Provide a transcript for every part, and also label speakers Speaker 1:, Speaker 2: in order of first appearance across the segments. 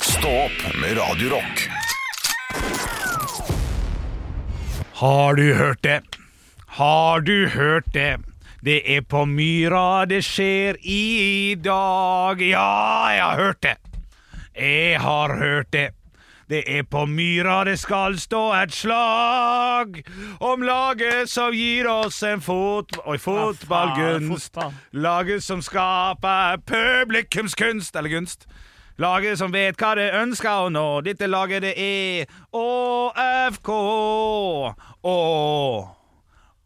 Speaker 1: Stå opp med Radio Rock.
Speaker 2: Har du hørt det? Har du hørt det? Det er på myra det skjer i dag. Ja, jeg har hørt det. Jeg har hørt det. Det er på myra det skal stå et slag om laget som gir oss en fot... Oi, fotballgunst.
Speaker 3: fotball.
Speaker 2: Laget som skaper publikumskunst eller gunst. Laget som vet hva det ønsker å nå. Dette laget det er ÅFK. Å.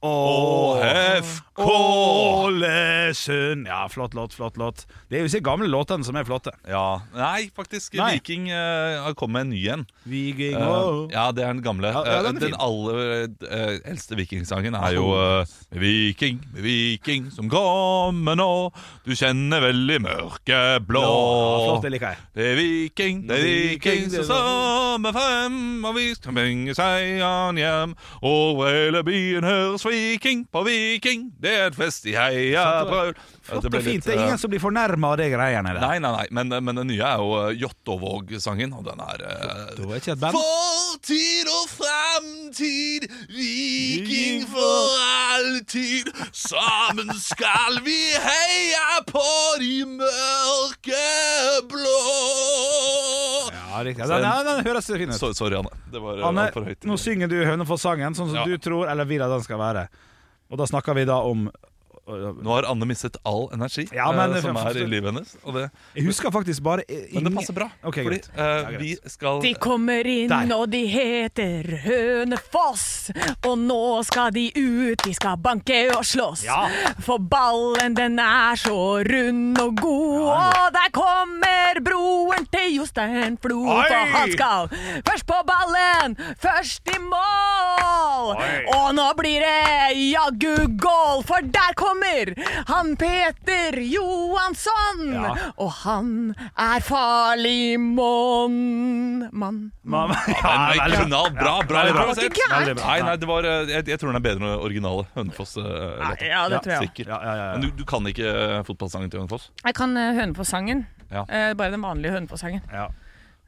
Speaker 2: ÅFK. Ålesund. Ja, flott låt, flott låt. Det er jo disse gamle låtene som er flotte.
Speaker 4: Ja, Nei, faktisk.
Speaker 2: Nei.
Speaker 4: Viking eh, har kommet med en ny en.
Speaker 2: Viking
Speaker 4: Eh,
Speaker 2: og
Speaker 4: ja, det er den gamle.
Speaker 2: Ja, ja, den er
Speaker 4: Eh, den
Speaker 2: fin.
Speaker 4: aller eh, eldste vikingsangen er jo eh, Med viking, med viking som kommer nå, du kjenner vel i mørket blå.
Speaker 2: Ja, flott, det liker jeg.
Speaker 4: Det er viking, det er viking som sammen frem, og vi skal bringe seieren hjem. Over hele byen høres viking på viking, det er et fest i heia brøl.
Speaker 2: Flott og fint. Det eh, er ingen som blir fornærma av de greiene der.
Speaker 4: Nei, nei, nei, men, men den nye er jo eh, Jåttåvåg-sangen, og den er eh,
Speaker 2: Det var ikke et band.
Speaker 4: Fortid og fremtid, viking for alltid. Sammen skal vi heie på de mørke blå.
Speaker 2: Ja, riktig. Ja, Den, ja, den høres fin ut.
Speaker 4: So, sorry, Anne. Det var eh,
Speaker 2: Anne,
Speaker 4: alt for høyt.
Speaker 2: nå synger du Hønefoss-sangen sånn som
Speaker 4: Ja.
Speaker 2: du tror eller vil at den skal være. Og da snakker vi da om
Speaker 4: Nå har Anne mistet all energi
Speaker 2: Ja, men-
Speaker 4: eh, som er i livet hennes. Og det,
Speaker 2: Jeg husker faktisk bare
Speaker 4: men det passer bra,
Speaker 2: Ok,
Speaker 4: fordi
Speaker 2: greit.
Speaker 4: eh,
Speaker 2: Ja, greit.
Speaker 4: vi skal
Speaker 3: De kommer inn,
Speaker 2: Der.
Speaker 3: og de heter Hønefoss. Og nå skal de ut, de skal banke og slåss.
Speaker 2: Ja.
Speaker 3: For ballen den er så rund og god. Og der kommer broren til Jostein Flo,
Speaker 2: Oi!
Speaker 3: for han skal først på ballen, først i mål.
Speaker 2: Oi.
Speaker 3: Og nå blir det jaggu goal, for der kommer han Peter Johansson.
Speaker 2: Ja.
Speaker 3: Og han er farlig monn... Mann.
Speaker 2: Mamma, ja,
Speaker 4: Eh, Nei, nei,
Speaker 2: veldig bra.
Speaker 4: knall, bra, bra,
Speaker 2: veldig
Speaker 4: bra,
Speaker 2: bra.
Speaker 4: plassert.
Speaker 3: Ikke gærent.
Speaker 2: Veldig bra.
Speaker 4: Nei, nei, det var, eh, jeg, jeg tror den er bedre enn den originale Hønefoss-låta.
Speaker 3: Ja, det
Speaker 2: Ja,
Speaker 3: tror jeg.
Speaker 4: Sikkert.
Speaker 2: Ja, ja, ja, ja.
Speaker 4: Men du, du kan ikke eh, fotballsangen til Hønefoss?
Speaker 3: Jeg kan eh, Hønefoss-sangen.
Speaker 4: Ja.
Speaker 3: Eh, bare den vanlige Hønefoss-sangen.
Speaker 2: Ja.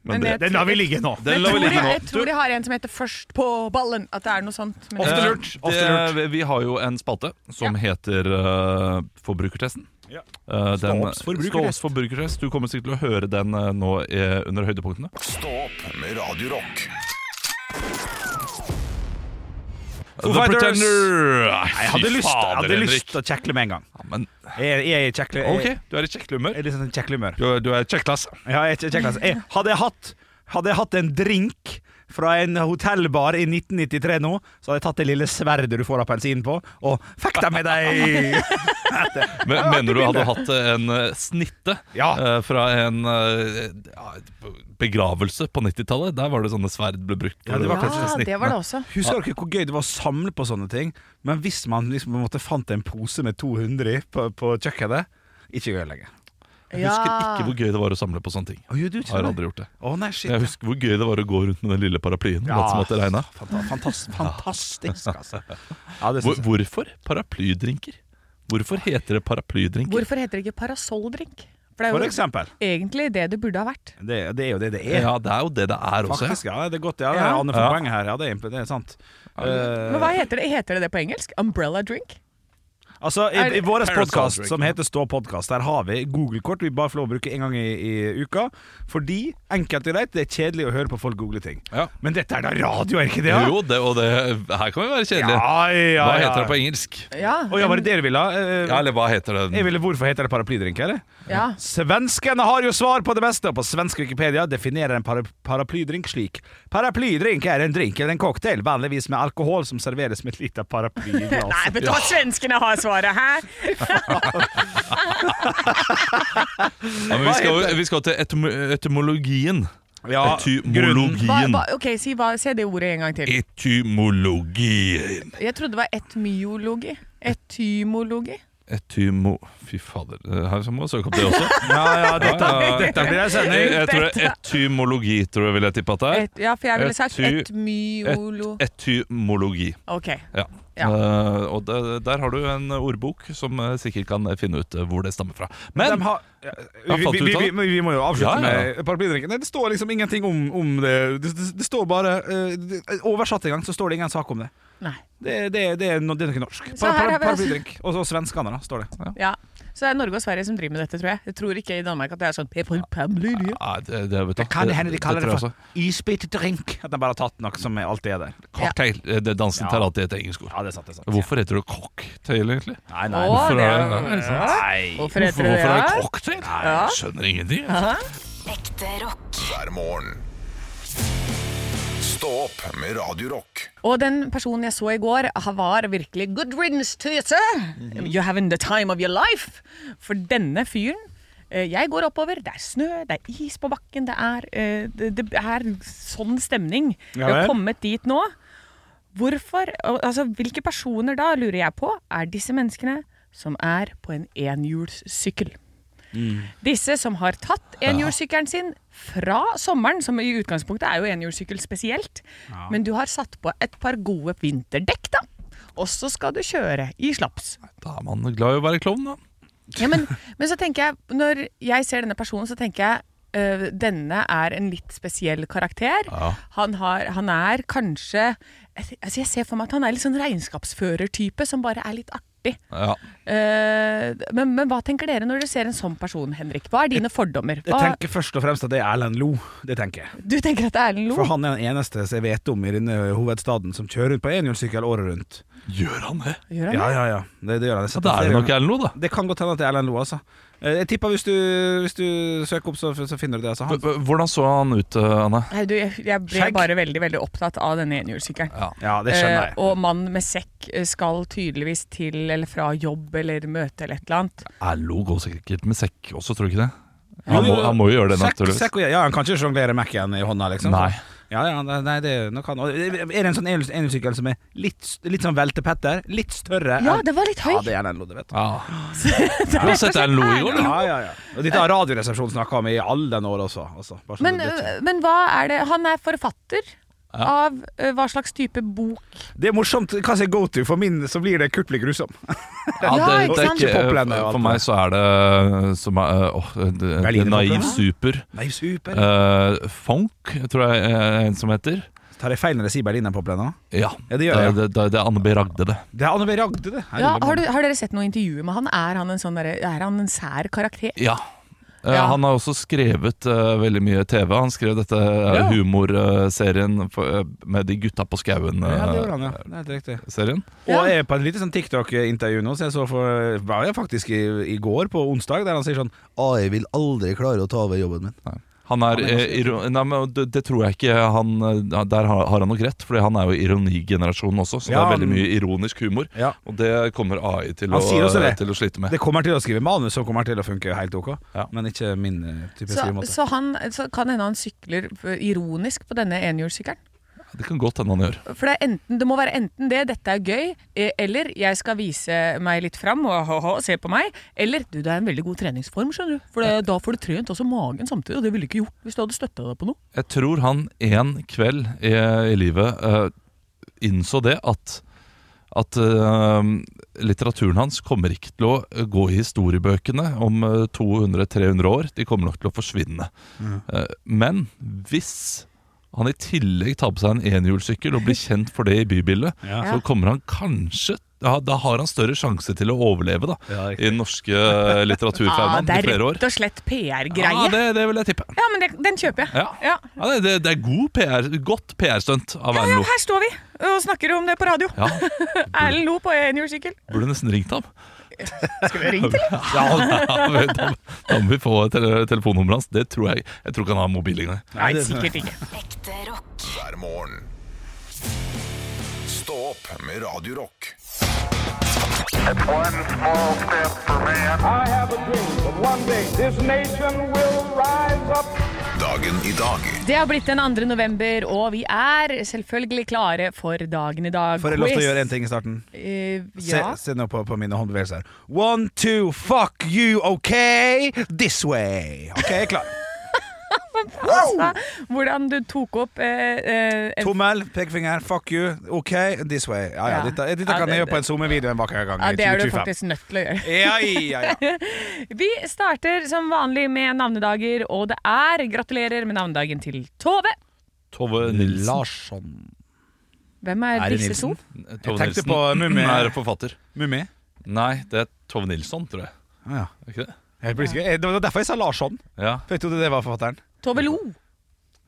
Speaker 3: Men
Speaker 4: det-
Speaker 3: jeg
Speaker 2: Den
Speaker 3: tror-
Speaker 2: lar vi ligge nå.
Speaker 4: Den
Speaker 3: Jeg
Speaker 4: lar vi
Speaker 3: tror,
Speaker 4: ligge
Speaker 3: jeg,
Speaker 4: nå.
Speaker 3: jeg tror de har en som heter 'Først på ballen'. At det er noe sånt. Men
Speaker 2: Ofte
Speaker 4: Eh,
Speaker 2: lurt, ofte lurt.
Speaker 4: Det, vi har jo en spalte som heter eh, Forbrukertesten.
Speaker 2: Ja.
Speaker 4: Eh,
Speaker 2: Stå
Speaker 4: den-
Speaker 2: opps forbrukertest.
Speaker 4: Stå opps forbrukertest. Du kommer sikkert til å høre den eh, nå eh, under høydepunktene.
Speaker 1: Stå opp med Radio Rock.
Speaker 2: Foo
Speaker 4: The
Speaker 2: Fighters.
Speaker 4: Pretender!
Speaker 2: Jeg hadde lyst, jeg hadde lyst til å kjekle med en gang.
Speaker 4: Ja, men
Speaker 2: Jeg, jeg er i kjekle...
Speaker 4: OK,
Speaker 2: Jeg,
Speaker 4: du er i kjeklehumør.
Speaker 2: jeg er litt sånn kjeklehumør.
Speaker 4: Du, du er kjekklass.
Speaker 2: Ja, jeg, er kjekk, altså. jeg, hadde, jeg hatt, hadde jeg hatt en drink fra en hotellbar i 1993 nå, så hadde jeg tatt det lille sverdet du får av bensin på, og fekta med deg!
Speaker 4: Men,
Speaker 2: Ja,
Speaker 4: mener du
Speaker 2: artig
Speaker 4: hadde hatt en eh, snitte
Speaker 2: Ja.
Speaker 4: eh, fra en eh, ja, begravelse på 90-tallet? Der var det sånne sverd ble brukt.
Speaker 2: Ja, det var kanskje sånn
Speaker 3: ja, det var det også.
Speaker 2: Husker dere hvor gøy det var å samle på sånne ting? Men hvis man liksom på en måte fant en pose med 200 i på, på kjøkkenet Ikke gøy lenger.
Speaker 4: Jeg husker ikke hvor gøy det var å samle på sånne ting.
Speaker 2: Å, gjør du ikke
Speaker 4: Har
Speaker 2: det?
Speaker 4: aldri gjort det.
Speaker 2: Å nei, shit.
Speaker 4: Jeg husker hvor gøy det var å gå rundt med den lille paraplyen.
Speaker 2: Ja.
Speaker 4: Ja. Som at det regnet.
Speaker 2: Fanta- fantas- fantastisk, altså. Ja, det synes
Speaker 4: Hvor,
Speaker 2: jeg.
Speaker 4: hvorfor paraplydrinker? Hvorfor heter det paraplydrinker?
Speaker 3: Hvorfor heter det ikke parasolldrink? For det
Speaker 2: For
Speaker 3: er jo
Speaker 2: eksempel.
Speaker 3: egentlig det det burde ha vært.
Speaker 2: Det, det er jo det det er.
Speaker 4: Ja, det er jo det det er også.
Speaker 2: Faktisk, ja. Det er godt. Ja, det er
Speaker 3: Ja.
Speaker 2: Anne får
Speaker 4: Ja.
Speaker 2: poenget her. Ja, det er, imp- det er sant. Eh,
Speaker 3: Men hva heter det? Heter det det på engelsk? Umbrella drink?
Speaker 2: Altså,
Speaker 3: Er
Speaker 2: I, i
Speaker 3: det-
Speaker 2: vår
Speaker 4: Parasol
Speaker 2: podkast
Speaker 4: drink,
Speaker 2: som
Speaker 4: ja.
Speaker 2: heter Stå podkast, der har vi Google-kort vi bare får lov å bruke én gang i, i uka. Fordi, enkelt og greit, det er kjedelig å høre på folk google ting.
Speaker 4: Ja.
Speaker 2: Men dette er da radio, er ikke det?
Speaker 4: Ja.
Speaker 2: da?
Speaker 4: Jo, det, og det, her kan vi være kjedelige.
Speaker 2: Ja, ja,
Speaker 4: Hva
Speaker 2: ja.
Speaker 4: heter det på engelsk?
Speaker 3: Ja.
Speaker 2: Å ja, var det det du ville? Eh,
Speaker 4: Ja, eller hva heter det?
Speaker 2: jeg ville hvorfor heter det paraplydrink, eller?
Speaker 3: ja.
Speaker 2: Svenskene har jo svar på det meste, og på svensk Wikipedia definerer en para paraplydrink slik. Paraplydrink er en drink eller en cocktail, vanligvis med alkohol, som serveres med et lite paraply i
Speaker 3: Nei,
Speaker 2: glasset.
Speaker 3: vet du hva, svenskene har svaret her!
Speaker 4: Ja, men vi, skal, jo- vi skal til etymo etymologien.
Speaker 2: Ja, grunnen.
Speaker 3: Hva,
Speaker 4: etymologien.
Speaker 3: hva, ok, si, hva, Se det ordet en gang til.
Speaker 4: Etymologien.
Speaker 3: Jeg trodde det var etmyologi. Etymologi.
Speaker 4: Etymo... Fy fader, her må jeg søke opp det også.
Speaker 2: Ja, ja, dette,
Speaker 4: Ja, ja.
Speaker 2: dette blir en
Speaker 4: Jeg,
Speaker 2: sending.
Speaker 4: jeg tror det er etymologi, tror jeg vil jeg tippe at det er.
Speaker 3: Et, ja, for jeg ville sagt
Speaker 4: Ety-
Speaker 3: etmyolo...
Speaker 4: Et, etymologi.
Speaker 3: Ok.
Speaker 4: Ja.
Speaker 3: Ja.
Speaker 4: Eh, og det, der har du en ordbok som eh, sikkert kan finne ut eh, hvor det stammer fra. Men
Speaker 2: De har, ja,
Speaker 4: Jeg
Speaker 2: vi, vi,
Speaker 4: fant ut av
Speaker 2: vi,
Speaker 4: det.
Speaker 2: vi, vi må jo avslutte
Speaker 4: Ja, ja, ja.
Speaker 2: med paraplydrinken. Nei, Det står liksom ingenting om, om det. Det, det. det står bare eh, det- Oversatt en gang, så står det ingen sak om det.
Speaker 3: Nei.
Speaker 2: Det, det, det, er, no, det er noe norsk.
Speaker 3: Så
Speaker 2: Par, par,
Speaker 3: her har vi altså-
Speaker 2: paraplydrink. Og så svenskene, da, står det.
Speaker 3: Ja. Så det er Norge og Sverige som driver med dette, tror jeg. Jeg tror ikke i Danmark at det er sånn pe- pe- pamlyrie.
Speaker 4: Nei, det, det, vet du,
Speaker 2: Det kan hende de kaller det,
Speaker 4: tror jeg også.
Speaker 2: for isbitdrink. At de bare har tatt noe som alltid er der.
Speaker 4: Cocktail. Eh, Det dansen
Speaker 2: Ja.
Speaker 4: tar alltid et engelsk ord.
Speaker 2: Ja, det er sant. det er sant
Speaker 4: Hvorfor heter det cocktail, egentlig?
Speaker 2: Nei, nei.
Speaker 3: Å,
Speaker 4: Hvorfor
Speaker 3: det
Speaker 4: er
Speaker 3: er-
Speaker 4: det-
Speaker 3: ja.
Speaker 2: nei.
Speaker 3: Hvorfor heter det
Speaker 4: hvorfor er det
Speaker 3: det?
Speaker 4: cocktail?
Speaker 3: Ja.
Speaker 4: Jeg skjønner ingenting. jeg.
Speaker 5: Ekte rock.
Speaker 1: hver morgen. Stå opp med Radio Rock.
Speaker 3: Og den personen jeg så i går, han var virkelig good riddance to you, sir. You haven't the time of your life. For denne fyren eh, Jeg går oppover, det er snø, det er is på bakken, det er, eh, det, det er sånn stemning. Vi
Speaker 2: Ja
Speaker 3: har
Speaker 2: vel.
Speaker 3: kommet dit nå. Hvorfor, al- altså Hvilke personer da, lurer jeg på, er disse menneskene som er på en enhjulssykkel? Disse som har tatt enhjulssykkelen sin fra sommeren, som i utgangspunktet er jo enhjulssykkel spesielt, men du har satt på et par gode vinterdekk, da. Og så skal du kjøre i slaps.
Speaker 4: Da er man glad i å være klovn, da.
Speaker 3: Ja, men, men så tenker jeg, når jeg ser denne personen, så tenker jeg øh, denne er en litt spesiell karakter. Han, har, han er kanskje altså Jeg ser for meg at han er litt sånn regnskapsførertype som bare er litt artig.
Speaker 4: Ja.
Speaker 3: Eh, men, men hva tenker dere når dere ser en sånn person, Henrik? Hva er dine fordommer?
Speaker 2: Jeg
Speaker 3: Hva,
Speaker 2: tenker først og fremst at det er Erlend Lo. Det tenker jeg.
Speaker 3: du tenker at det er Erlend
Speaker 2: For
Speaker 3: Lo?
Speaker 2: han er den eneste som jeg vet om i denne hovedstaden som kjører rundt på enhjulssykkel året rundt.
Speaker 4: Gjør han det?
Speaker 3: Gjør han
Speaker 2: Ja,
Speaker 3: det?
Speaker 2: ja, ja. Det, det gjør han. Jeg har
Speaker 4: Ja,
Speaker 2: sett
Speaker 4: da
Speaker 2: det
Speaker 4: er
Speaker 2: flere
Speaker 4: det nok
Speaker 2: ganger.
Speaker 4: Erlend Loe, da.
Speaker 2: Det kan godt hende at det er Erlend Lo, altså. Eh, Jeg tipper hvis du, hvis du søker opp, så, så finner du det. Altså.
Speaker 4: H-
Speaker 2: Han,
Speaker 4: h- Hvordan så han ut, eh, Anne?
Speaker 3: Nei, du, jeg, jeg ble
Speaker 2: Skjegg?
Speaker 3: bare veldig veldig opptatt av denne enhjulssykkelen.
Speaker 2: ja, det skjønner
Speaker 3: Eh,
Speaker 2: jeg.
Speaker 3: og mann med sekk eh, skal tydeligvis til eller fra jobb eller møte eller et eller annet.
Speaker 4: Erlend Loe går sikkert med sekk også, tror du ikke det? Han må, han må jo gjøre det,
Speaker 2: Sekk-
Speaker 4: naturligvis.
Speaker 2: sekk og- Ja, han kan ikke sjonglere Mac-en i hånda, liksom.
Speaker 4: Nei.
Speaker 2: Ja, ja, nei, nei, det er nok han. Og Er det en sånn enhjuls- enhjulssykkel som er litt, s- litt sånn veltepetter? Litt større?
Speaker 3: Ja,
Speaker 2: enn-
Speaker 3: det var litt høy.
Speaker 2: Eh, Ja, det er Erlend Lo, det vet du.
Speaker 4: Ja. Du har sett Erlend Loe i går, du?
Speaker 2: Ja, ja, ja. Og dette har Radioresepsjonen snakka om i alle den år også. Altså. Bare så
Speaker 3: Men,
Speaker 2: det- det-
Speaker 3: øh, men hva er det Han er forfatter av øh, hva slags type bok?
Speaker 2: Det er morsomt hva som er go to. For min så blir det Kurtlig grusom.
Speaker 4: Ja,
Speaker 3: Ja,
Speaker 4: det,
Speaker 3: ikke
Speaker 4: det er
Speaker 3: sant?
Speaker 4: ikke, eh,
Speaker 2: Ikke popland, det er jo
Speaker 4: for- for
Speaker 2: alt
Speaker 4: meg
Speaker 2: det.
Speaker 4: så er det som er, eh, åh, det- det,
Speaker 2: Berliner
Speaker 4: Naiv
Speaker 2: popland?
Speaker 4: Super.
Speaker 2: Nei, super.
Speaker 4: eh, funk, tror jeg eh, en som heter.
Speaker 2: Tar jeg feil når jeg sier Berlinerpoplene? nå?
Speaker 4: Ja,
Speaker 2: Ja, det gjør jeg.
Speaker 4: Det, det, det er Anne B. Ragde, det.
Speaker 2: Det er Anne B. Ragde, det. Herre
Speaker 3: Ja,
Speaker 2: mann.
Speaker 3: har, du, har dere sett noe intervju med han? Er han en, sånn derre- er han en sær karakter?
Speaker 4: Ja. Eh,
Speaker 3: Ja.
Speaker 4: Han har også skrevet eh, veldig mye TV. Han skrev dette eh,
Speaker 2: Ja.
Speaker 4: humorserien for- eh, med de gutta på
Speaker 2: Ja,
Speaker 4: eh,
Speaker 2: det gjorde
Speaker 4: skauen-serien.
Speaker 2: han, ja. Det er helt riktig. Og jeg er på en liten sånn TikTok-intervju nå, så jeg så for, var jeg faktisk i, i går, på onsdag, der han sier sånn AI vil aldri klare å ta over jobben min.
Speaker 4: Han er,
Speaker 2: Han er
Speaker 4: eh,
Speaker 2: ganske-
Speaker 4: iro Nei, men det, det tror jeg ikke han eh, Der har, har han nok rett, Fordi han er jo ironigenerasjonen også, så
Speaker 2: Ja,
Speaker 4: det er veldig
Speaker 2: han-
Speaker 4: mye ironisk humor.
Speaker 2: Ja.
Speaker 4: Og det kommer AI til,
Speaker 2: Han
Speaker 4: å,
Speaker 2: sier også det.
Speaker 4: til å slite med.
Speaker 2: Det kommer til å skrive manus, så kommer det til å funke helt ok,
Speaker 4: Ja.
Speaker 2: men ikke min eh, type
Speaker 3: Så,
Speaker 2: skrivemåte.
Speaker 3: så, han, så kan hende han sykler øh, ironisk på denne enhjulssykkelen.
Speaker 4: Det kan godt hende han gjør.
Speaker 3: For det, er enten, det må være enten det, dette er gøy, eh, eller jeg skal vise meg litt fram og ha, ha, se på meg, eller du, det er en veldig god treningsform, skjønner du. For det, da får du trent også magen samtidig, og det ville du ikke gjort hvis du hadde støtta deg på noe.
Speaker 4: Jeg tror han en kveld i, i livet eh, innså det at at eh, litteraturen hans kommer ikke til å eh, gå i historiebøkene om eh, 200-300 år. De kommer nok til å forsvinne.
Speaker 2: Mm.
Speaker 4: Eh, men hvis han i tillegg tar på seg en enhjulssykkel og blir kjent for det i bybildet,
Speaker 2: Ja.
Speaker 4: så kommer han kanskje ja, Da har han større sjanse til å overleve da,
Speaker 2: Ja,
Speaker 4: i den norske eh, litteraturfaunaen
Speaker 3: Ah, det
Speaker 4: i
Speaker 3: er
Speaker 4: flere år.
Speaker 3: rett og slett PR-greie.
Speaker 4: Ja,
Speaker 3: Ja,
Speaker 4: det, det vil jeg tippe.
Speaker 3: men det, den kjøper jeg.
Speaker 4: Ja. Ja, det, det, det er god PR, godt PR-stunt av Erlend Loe.
Speaker 3: Her står vi og snakker om det på radio.
Speaker 4: Ja,
Speaker 3: Erlend lo på enhjulssykkel.
Speaker 4: burde nesten ringt ham.
Speaker 3: Skal vi ringe til ham?
Speaker 4: Ja, da, da, da må vi få tele telefonnummeret hans. Det tror jeg Jeg tror ikke han har mobil engang.
Speaker 3: Nei,
Speaker 2: det-
Speaker 3: sikkert ikke.
Speaker 5: Ekte rock.
Speaker 1: hver morgen. Stå opp med Radio Rock.
Speaker 6: One small step for man.
Speaker 7: I have a dream that one day this nation will rise up.
Speaker 1: Dagen i dag
Speaker 3: Det har blitt den 2. november, og vi er selvfølgelig klare for dagen i dag. Eh,
Speaker 2: Får jeg lov til å gjøre en ting i starten? Se,
Speaker 3: ja.
Speaker 2: se nå på, på mine håndbevegelser. One, two, fuck you, ok? This way. Ok, klar.
Speaker 3: altså, hvordan du tok opp eh, eh, en-
Speaker 2: Tommel, pekefinger, fuck you, OK, this way. Ja, ja,
Speaker 3: Ja.
Speaker 2: Dette, dette
Speaker 3: Ja,
Speaker 2: kan jeg
Speaker 3: det-
Speaker 2: gjøre på en SoMe-video en vakker gang
Speaker 3: ja,
Speaker 2: i
Speaker 3: Det er du
Speaker 2: 2025.
Speaker 3: faktisk nødt til å gjøre.
Speaker 2: Ja, ja, ja.
Speaker 3: Vi starter som vanlig med navnedager, og det er gratulerer med navnedagen til Tove.
Speaker 4: Tove Nilsen.
Speaker 2: Larsson.
Speaker 3: Hvem er,
Speaker 2: Er det
Speaker 3: disse
Speaker 2: Nilsen?
Speaker 3: to?
Speaker 4: Tove
Speaker 2: tenkte på Mummi.
Speaker 4: er forfatter.
Speaker 2: Mummi.
Speaker 4: Nei, det er Tove Nilsson, tror jeg.
Speaker 2: Ah, ja.
Speaker 4: Er ikke det?
Speaker 2: Jeg blir usikker. Eh, Det var derfor jeg sa Larsson.
Speaker 4: Ja.
Speaker 2: For jeg trodde det var forfatteren.
Speaker 3: Tove Lo.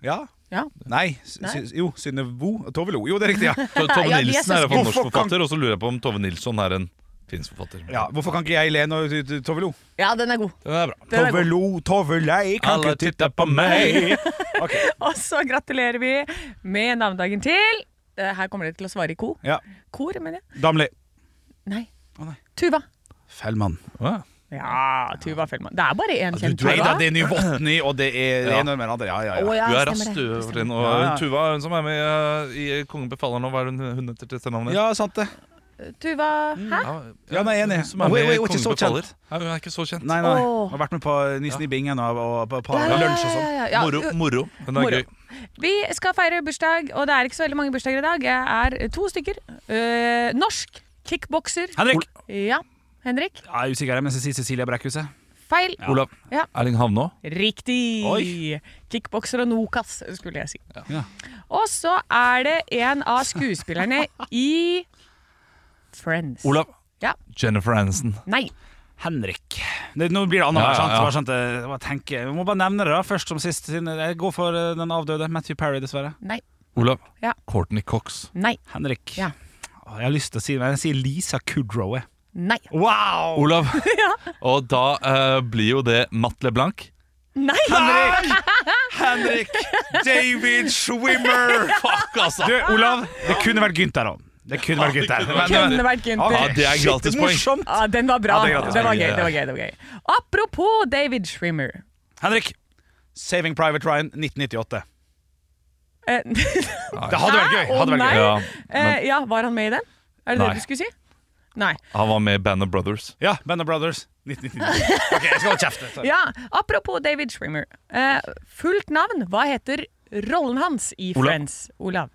Speaker 2: Ja.
Speaker 3: Ja.
Speaker 2: Nei. s-
Speaker 3: Nei.
Speaker 2: s- Jo, Synne Vo og Tove Lo. Jo, det er riktig, ja.
Speaker 4: To- Tove
Speaker 3: Ja, de er
Speaker 4: Nilsen er i hvert fall
Speaker 2: søsken.
Speaker 4: norsk forfatter, og så lurer jeg på om Tove Nilsson er en finsk forfatter.
Speaker 2: ja. Hvorfor kan ikke jeg le når du- du- Tove Lo?
Speaker 3: Ja, den er god.
Speaker 4: Den er bra.
Speaker 3: Den er
Speaker 2: Tove
Speaker 3: god.
Speaker 2: Lo, Tove Lei, kan
Speaker 4: Alle
Speaker 2: ikke titte
Speaker 4: titter på meg!
Speaker 3: Og så gratulerer vi med navnedagen til eh, Her kommer dere til å svare i ko.
Speaker 2: Ja.
Speaker 3: Kor, mener jeg.
Speaker 2: Damli.
Speaker 3: Nei.
Speaker 2: Å, nei.
Speaker 3: Tuva.
Speaker 2: Fellmann.
Speaker 4: Ja.
Speaker 3: Ja, Tuva Fellmann. Det er bare én kjent
Speaker 2: Nei da,
Speaker 3: Tuva.
Speaker 2: det er Nyvotny, og det er
Speaker 4: Ja.
Speaker 2: ja. ene med den andre. Ja, ja,
Speaker 3: Å,
Speaker 2: ja.
Speaker 3: ja,
Speaker 4: Du er
Speaker 3: stemmer
Speaker 4: rask,
Speaker 3: det.
Speaker 4: du,
Speaker 3: Det stemmer.
Speaker 4: Fortin. Og
Speaker 2: Ja, ja.
Speaker 4: Tuva er hun som er med eh, i Kongen befaler nå. Hva er hun, hun heter til etternavnet?
Speaker 2: Ja, sant det.
Speaker 3: Tuva Hæ?
Speaker 2: Ja, nei, enig.
Speaker 4: Hun Som er
Speaker 2: Hun er-
Speaker 4: med i
Speaker 2: hun er ikke
Speaker 4: Kongen
Speaker 2: så kjent.
Speaker 4: befaler. Nei, hun er ikke så kjent.
Speaker 2: Nei, nei.
Speaker 3: Åh.
Speaker 2: Har vært med på Nissen i bingen og, og på, på
Speaker 3: Ja, ja,
Speaker 2: lunsj og sånn.
Speaker 3: ja, ja, ja.
Speaker 4: moro,
Speaker 3: Jo,
Speaker 4: moro. Hun er
Speaker 3: moro.
Speaker 4: gøy.
Speaker 3: Vi skal feire bursdag, og det er ikke så veldig mange bursdager i dag. Jeg er to stykker. Eh, norsk kickbokser.
Speaker 2: Henrik!
Speaker 3: Ja. Henrik.
Speaker 2: Jeg er usikker, men jeg sier Cecilia Brekkhuset.
Speaker 3: Feil.
Speaker 4: Olav
Speaker 3: Ja.
Speaker 4: Erling Havnå.
Speaker 3: Riktig!
Speaker 2: Oi.
Speaker 3: Kickbokser og Nokas, skulle jeg si.
Speaker 2: Ja.
Speaker 3: Og så er det en av skuespillerne i Friends.
Speaker 4: Olav
Speaker 3: Ja.
Speaker 4: Jennifer Aniston.
Speaker 3: Nei.
Speaker 2: Henrik. Det, nå blir det annet,
Speaker 4: Ja,
Speaker 2: her,
Speaker 4: ja,
Speaker 2: sant?
Speaker 4: ja.
Speaker 2: Bare sånn at jeg- bare tenke. Vi må bare nevne det da, først som sist. siden Jeg går for eh, den avdøde Matthew Parry, dessverre.
Speaker 3: Nei.
Speaker 4: Olav
Speaker 3: Ja.
Speaker 4: Courtney Cox.
Speaker 3: Nei.
Speaker 2: Henrik.
Speaker 3: Ja.
Speaker 2: Å, Jeg har lyst til å si men jeg sier Lisa Kudrow. jeg.
Speaker 3: Nei.
Speaker 2: Wow!
Speaker 4: Olav. Og da eh, blir jo det Matt LeBlanc.
Speaker 3: Nei!
Speaker 2: Henrik! Henrik! David Schwimmer!
Speaker 4: Fuck, altså!
Speaker 2: Du, Olav, det kunne vært Gunther òg. Det kunne vært Gunther.
Speaker 4: kunne
Speaker 2: Men-
Speaker 3: Ah,
Speaker 2: eh, ah,
Speaker 3: Kunne vært
Speaker 4: ja,
Speaker 3: Gunther.
Speaker 4: det er
Speaker 2: Shit,
Speaker 4: gratispoeng.
Speaker 2: morsomt.
Speaker 3: Ja, den var bra.
Speaker 2: Ja, det
Speaker 3: Det
Speaker 2: er
Speaker 3: var
Speaker 2: gratis.
Speaker 3: gøy. det var gøy, det var gøy Apropos David Shrimmer.
Speaker 2: Henrik. Saving Private Ryan 1998.
Speaker 3: Eh,
Speaker 2: Det hadde vært gøy.
Speaker 3: Hæ? Å,
Speaker 2: Hadde vært
Speaker 3: nei.
Speaker 2: gøy.
Speaker 4: Ja,
Speaker 3: eh, ja, var han med i den? Er det
Speaker 4: Nei.
Speaker 3: det du skulle si? Nei.
Speaker 4: han var med i Band of Brothers.
Speaker 2: Ja, Band of Brothers 1999. Ok, jeg skal holde kjeft. sorry.
Speaker 3: Ja, Apropos David Shrimmer. Eh, fullt navn, hva heter rollen hans i
Speaker 4: Olav.
Speaker 3: Friends? Olav.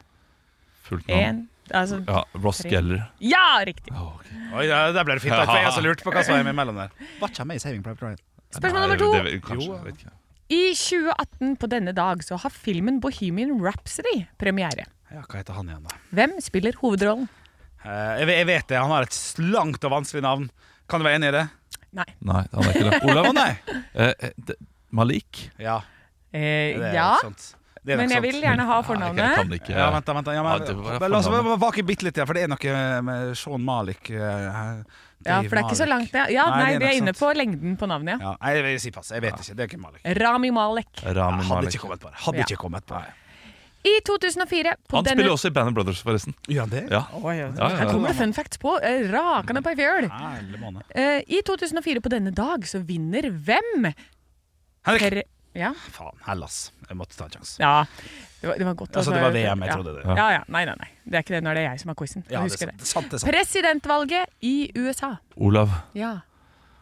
Speaker 4: Fullt navn.
Speaker 3: En, altså,
Speaker 4: Ja, Ross
Speaker 3: Tre.
Speaker 4: Geller.
Speaker 3: ja, riktig.
Speaker 2: Oi, ja, der ble det fint. takk, For jeg også lurte på hva som var imellom der. Var ikke han med i Saving Private Ryan?
Speaker 3: Spørsmål
Speaker 4: Nei,
Speaker 3: nummer to.
Speaker 4: det- det- kanskje, jeg vet ikke.
Speaker 3: I 2018 på denne dag så har filmen Bohemian Rhapsody premiere.
Speaker 2: Ja, hva heter han igjen, da?
Speaker 3: Hvem spiller hovedrollen?
Speaker 2: Eh, jeg, ve- jeg vet det. Han har et langt og vanskelig navn. Kan du være enig i det?
Speaker 3: Nei.
Speaker 4: Nei, han er ikke det. Olav?
Speaker 2: Å nei!
Speaker 4: Eh, eh, det- Malik?
Speaker 2: Ja,
Speaker 3: Eh,
Speaker 2: det er
Speaker 3: ja,
Speaker 2: sant. Det er nok
Speaker 3: men jeg vil
Speaker 2: sant.
Speaker 3: gjerne ha
Speaker 4: Nei, jeg kan
Speaker 3: fornavnet.
Speaker 4: ikke.
Speaker 2: Ja, vent, da, vent. da. Ja,
Speaker 4: Ja,
Speaker 2: men,
Speaker 4: det var
Speaker 2: la oss
Speaker 4: fornavnet.
Speaker 2: bare vake bitt litt, ja, for det er noe med Sean Malik eh, her.
Speaker 3: Ja, for det er ikke så langt ned. Ja,
Speaker 2: Nei,
Speaker 3: nei,
Speaker 2: det er
Speaker 3: vi er
Speaker 2: nok
Speaker 3: inne
Speaker 2: sant.
Speaker 3: på lengden på navnet, ja.
Speaker 2: Ja, nei, jeg vil si pass. Jeg vet ikke. Det er ikke Malik.
Speaker 3: Rami Malek.
Speaker 2: Jeg
Speaker 4: Rami
Speaker 2: hadde
Speaker 4: Malek.
Speaker 2: ikke kommet på det. Hadde
Speaker 3: Ja.
Speaker 2: ikke kommet på det.
Speaker 3: I 2004 på
Speaker 4: Han spiller
Speaker 3: denne
Speaker 4: jo også i Band of Brothers, forresten.
Speaker 2: Gjør han det?
Speaker 4: Ja. Ja, ja,
Speaker 3: Her kommer det fun facts på eh, rakende på ei fjøl.
Speaker 2: Herlig måned.
Speaker 3: Eh, I 2004 på denne dag så vinner hvem?
Speaker 2: Henrik!
Speaker 3: Per ja.
Speaker 2: Faen, Hellas. Jeg måtte ta en sjanse.
Speaker 3: ja. Det var, det var godt.
Speaker 2: Altså, det var VM, jeg
Speaker 3: ja.
Speaker 2: trodde det.
Speaker 3: Ja, ja. Nei, nei, nei. Det er ikke det når det er jeg som har quizen.
Speaker 2: Ja,
Speaker 3: Jeg
Speaker 2: det er
Speaker 3: husker
Speaker 2: sant. Det er sant, det er sant.
Speaker 3: Presidentvalget i USA.
Speaker 4: Olav.
Speaker 3: Ja.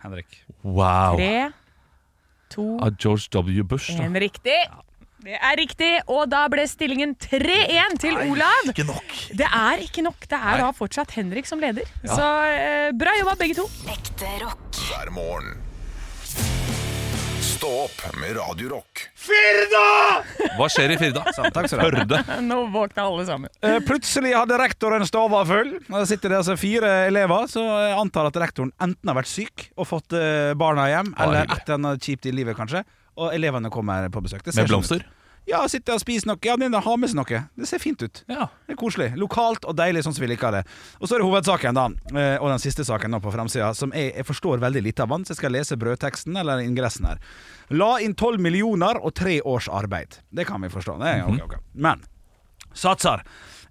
Speaker 2: Henrik.
Speaker 4: Wow.
Speaker 3: Tre, to,
Speaker 4: Av George W. Bush. Da.
Speaker 3: én. Riktig! Det er riktig, og da ble stillingen 3-1 til Olav.
Speaker 4: Ikke nok.
Speaker 3: Det er ikke nok. Det er da fortsatt Henrik som leder. Så eh, bra jobba, begge to.
Speaker 5: Ekte rock.
Speaker 1: hver morgen. Stå opp med Radio Rock.
Speaker 4: Hva skjer i Firda?
Speaker 2: takk skal du ha.
Speaker 4: Førde.
Speaker 3: Nå våkna alle sammen.
Speaker 2: Eh, Plutselig hadde rektoren stova full. Og sitter det altså fire elever, så jeg antar at rektoren enten har vært syk og fått eh, barna hjem,
Speaker 4: Ja,
Speaker 2: eller
Speaker 4: hyggelig.
Speaker 2: et eller annet kjipt i livet, kanskje. Og elevene kommer på besøk. Det ser sånn
Speaker 4: Med blomster?
Speaker 2: ut. Ja, sitter og spiser noe. Ja, den har med seg noe. Det ser fint ut.
Speaker 4: Ja.
Speaker 2: Det er koselig. Lokalt og deilig, sånn som vi liker det. Og så er det hovedsaken, da. eh, Og den siste saken nå på fremsida, som jeg, jeg forstår veldig lite av, den, så jeg skal lese brødteksten eller ingressen her. La inn 12 millioner og tre års arbeid. Det kan vi forstå. Det er, ok, ok. Men satser.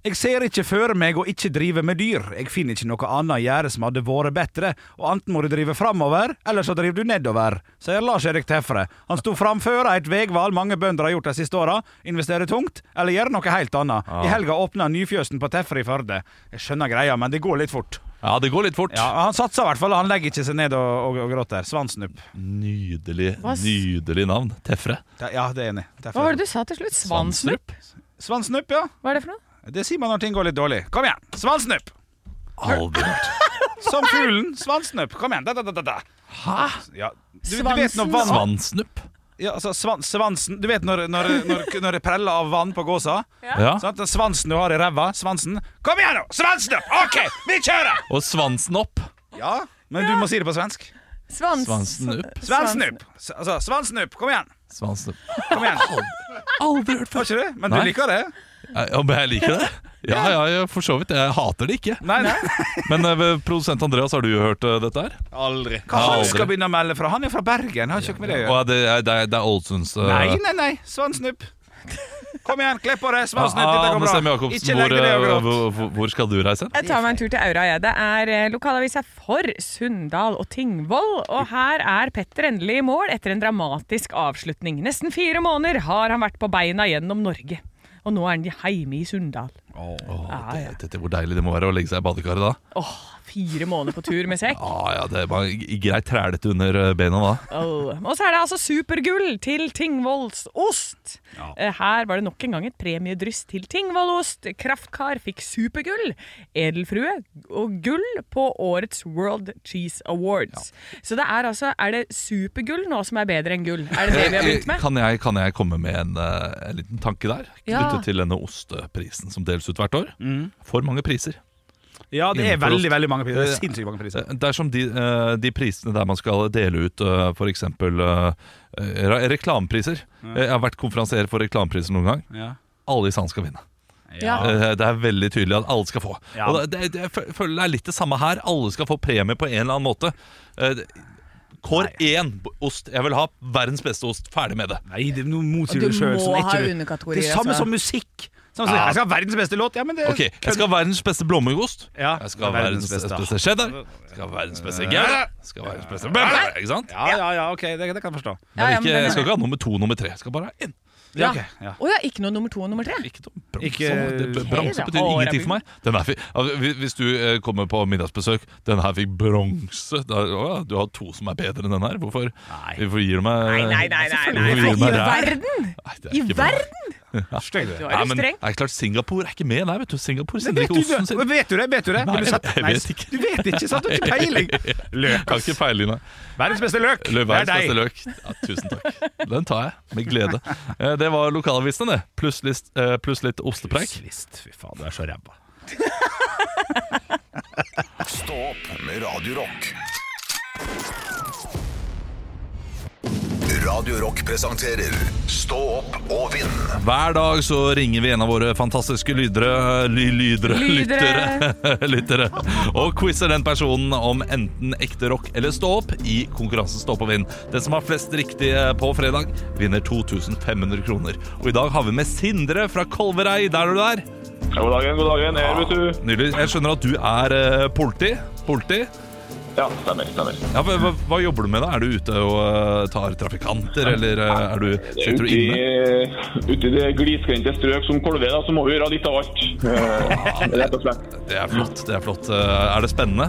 Speaker 2: Jeg ser ikke for meg å ikke drive med dyr. Jeg finner ikke noe annet å gjøre som hadde vært bedre, og enten må du drive framover, eller så driver du nedover, sier Lars-Erik Tefre. Han sto framfor et veivalg mange bønder har gjort de siste åra. Investere tungt, Ah. eller gjøre noe helt annet. I helga åpna Nyfjøsen på Tefre i Førde. Jeg skjønner greia, men det går litt fort.
Speaker 4: Ja, det går litt fort.
Speaker 2: Ja, Han satser i hvert fall. Han legger ikke seg ned og, og, og gråter. Svansnupp.
Speaker 4: Nydelig
Speaker 3: Hva s-
Speaker 4: nydelig navn. Tefre.
Speaker 2: Ja, det er jeg enig. i.
Speaker 3: Hva var det du sa til slutt? Svansnupp?
Speaker 2: Svansnupp, ja.
Speaker 3: Hva er det for noe?
Speaker 2: Det sier man når ting går litt dårlig. Kom igjen, svansnupp!
Speaker 4: Aldri hørt.
Speaker 2: Som fuglen. Svansnupp. Kom igjen. Da, da, da, da, da.
Speaker 4: Hæ?
Speaker 2: Ja. Du, du vet når
Speaker 3: Svansen
Speaker 2: vann
Speaker 4: Svansnupp?
Speaker 2: ja, altså, svan, Svansen Du vet når, når, når, når det preller av vann på gåsa?
Speaker 4: Ja.
Speaker 2: Sant? Den Svansen du har i ræva. Svansen. Kom igjen, nå! Svansnupp! OK, vi kjører!
Speaker 4: Og svansen opp.
Speaker 2: Ja, men du må si det på svensk.
Speaker 3: Svans.
Speaker 4: Svansen opp.
Speaker 2: Svansnupp! S- Altså, svansnupp. Kom igjen.
Speaker 4: Svansnupp.
Speaker 2: Kom igjen.
Speaker 4: Aldri hørt
Speaker 2: Har ikke du? Men
Speaker 4: Nei.
Speaker 2: du liker det?
Speaker 4: Ja, men jeg liker det. Ja, ja, ja, for så vidt. Jeg hater det ikke.
Speaker 2: Nei, nei.
Speaker 4: Men eh, ved produsent Andreas, har du hørt eh, dette her?
Speaker 2: Aldri. Hva han
Speaker 4: Aldri.
Speaker 2: skal begynne å melde fra? Han er fra Bergen. Har ikke noe med det å gjøre.
Speaker 4: Og er det, er, det er- det er Ålesunds eh,
Speaker 2: Nei, nei, nei. Svansnupp. Kom igjen, kle på deg.
Speaker 4: Ah,
Speaker 2: Svansnupp, dette går
Speaker 4: Anne Sem
Speaker 2: bra.
Speaker 4: Jacobsen,
Speaker 2: Ikke
Speaker 4: hvor,
Speaker 2: legg deg ned og
Speaker 4: eh,
Speaker 2: gråt.
Speaker 4: hvor, hvor- hvor skal du reise?
Speaker 3: Jeg tar meg en tur til Aura. Jeg. Det er eh, lokalavisa for Sunndal og Tingvoll. Og her er Petter endelig i mål etter en dramatisk avslutning. Nesten fire måneder har han vært på beina gjennom Norge. Og nå er han hjemme i Sunndal. Ah,
Speaker 4: Åh, det, dette, hvor deilig det må være å legge seg i badekaret da.
Speaker 3: Åh, fire måneder på tur med sekk.
Speaker 4: Ah, ja, det var g- greit trælete under eh, beina da.
Speaker 3: Åh. Og så er det altså supergull til Tingvolls ost. Eh, Her var det nok en gang et premiedryss til Tingvollost. Kraftkar fikk supergull, edelfrue og gull på årets World Cheese Awards. Så det er altså Er det supergull nå som er bedre enn gull? Er det det vi har begynt
Speaker 4: Eh,
Speaker 3: med?
Speaker 4: Kan jeg, kan jeg komme med en, eh, en liten tanke der?
Speaker 3: Ja. Mm.
Speaker 4: Knyttet til denne osteprisen som deles ut hvert år. For mange priser.
Speaker 2: Ja, det er
Speaker 4: Innenfor
Speaker 2: veldig,
Speaker 4: ost.
Speaker 2: veldig mange priser. Det
Speaker 4: Eh,
Speaker 2: er sinnssykt mange priser.
Speaker 4: Eh, Dersom de, eh, de prisene der man skal dele ut eh, f.eks. eh, reklamepriser Eh, Jeg har vært konferansier for reklamepriser noen gang.
Speaker 2: Ja.
Speaker 4: Alle i salen skal vinne.
Speaker 3: Ja.
Speaker 4: Eh, Det er veldig tydelig at alle skal få.
Speaker 2: Ja.
Speaker 4: Og det, det, jeg fø- føler det er litt det samme her. Alle skal få premie på en eller annen måte. Eh, det- Kår én b- ost. Jeg vil ha verdens beste ost. Ferdig med det.
Speaker 2: Nei, det, nå motsier
Speaker 3: Du
Speaker 2: du deg sjøl.
Speaker 3: må ha underkategorier,
Speaker 2: Det er samme
Speaker 3: altså.
Speaker 2: som musikk. Samme som,
Speaker 4: Ja.
Speaker 2: Jeg skal ha verdens beste låt. Ja, men det
Speaker 4: Ok, Jeg skal ha verdens beste blåmuggost.
Speaker 2: Ja,
Speaker 4: Jeg skal ha verdens beste cheddar. Jeg Skal ha verdens beste gouda. Jeg Skal ha verdens beste Ikke sant?
Speaker 2: Ja, ja, ja, ok, det, det kan jeg forstå.
Speaker 3: Ja, ja,
Speaker 4: Men
Speaker 3: men
Speaker 4: ikke,
Speaker 3: den-
Speaker 4: jeg skal ikke ha nummer to nummer tre. Jeg skal bare ha én.
Speaker 2: Ja,
Speaker 3: Ja.
Speaker 2: ok, ja.
Speaker 3: Å ja, ikke noe nummer to og nummer tre?
Speaker 4: Ikke noe bronse.
Speaker 2: Ikke-
Speaker 4: Det-
Speaker 2: Ok,
Speaker 4: Bronse
Speaker 3: da.
Speaker 4: betyr ingenting for meg. Den her fikk, ja, hvis- hvis du eh, kommer på middagsbesøk, den her fikk bronse da, å, ja, Du har to som er bedre enn den her. Hvorfor, hvorfor gir du meg
Speaker 3: Nei, nei, nei, nei, nei,
Speaker 4: Hvorfor
Speaker 3: nei.
Speaker 4: gir du
Speaker 3: I
Speaker 4: meg ræv?
Speaker 3: verden!
Speaker 4: Nei, det er
Speaker 3: I
Speaker 4: ikke bra.
Speaker 3: verden!
Speaker 2: Støy du.
Speaker 3: Du
Speaker 4: Nei,
Speaker 3: er jo
Speaker 4: men,
Speaker 3: streng.
Speaker 4: det er klart, Singapore er ikke med der, vet du. Singapore
Speaker 2: Men
Speaker 4: sender
Speaker 2: Vet
Speaker 4: ikke
Speaker 2: du,
Speaker 4: osten
Speaker 2: det?
Speaker 4: sin.
Speaker 2: vet du det? Vet du det?
Speaker 4: Nei,
Speaker 2: Har du sett-
Speaker 4: jeg
Speaker 2: Nei,
Speaker 4: vet ikke.
Speaker 2: Du vet ikke, sant? Du har ikke peiling. Løk,
Speaker 4: Kan
Speaker 2: ass.
Speaker 4: ikke feile inn
Speaker 2: Verdens beste løk. Det er
Speaker 4: Verdens beste
Speaker 2: deg.
Speaker 4: løk. Ja, tusen takk. Den tar jeg med glede. Eh, Det var lokalavisen, det. Pluss list- eh, pluss litt ostepreik.
Speaker 2: Svist. Fy faen, du er så ræva.
Speaker 1: Stå opp med Radio Rock. Radio Rock presenterer Stå opp og vinn.
Speaker 4: Hver dag så ringer vi en av våre fantastiske lydere ly, Lydere,
Speaker 3: Lydere.
Speaker 4: lyttere, lyttere og quizer den personen om enten ekte rock eller stå opp i konkurransen Stå opp og vinn. Den som har flest riktige på fredag, vinner 2500 kroner. Og i dag har vi med Sindre fra Kolverei. Der er du der. Ah,
Speaker 8: God dagen, god dagen. Her, vet du.
Speaker 4: Nydelig. Jeg skjønner at du er eh, politi. Politi?
Speaker 8: Ja, stemmer. stemmer.
Speaker 4: Ja, hva, hva, hva jobber du med, da? Er du ute og eh, tar trafikanter, eller eh, er du,
Speaker 8: Det er
Speaker 4: sitter du
Speaker 8: Ute
Speaker 4: inne?
Speaker 8: i- Eh, ute i det glisgrendte strøk som Kolve, da, så må vi gjøre litt av alt. Eh, Rett og slett.
Speaker 4: Det er flott. det Er flott. Eh, Er det spennende?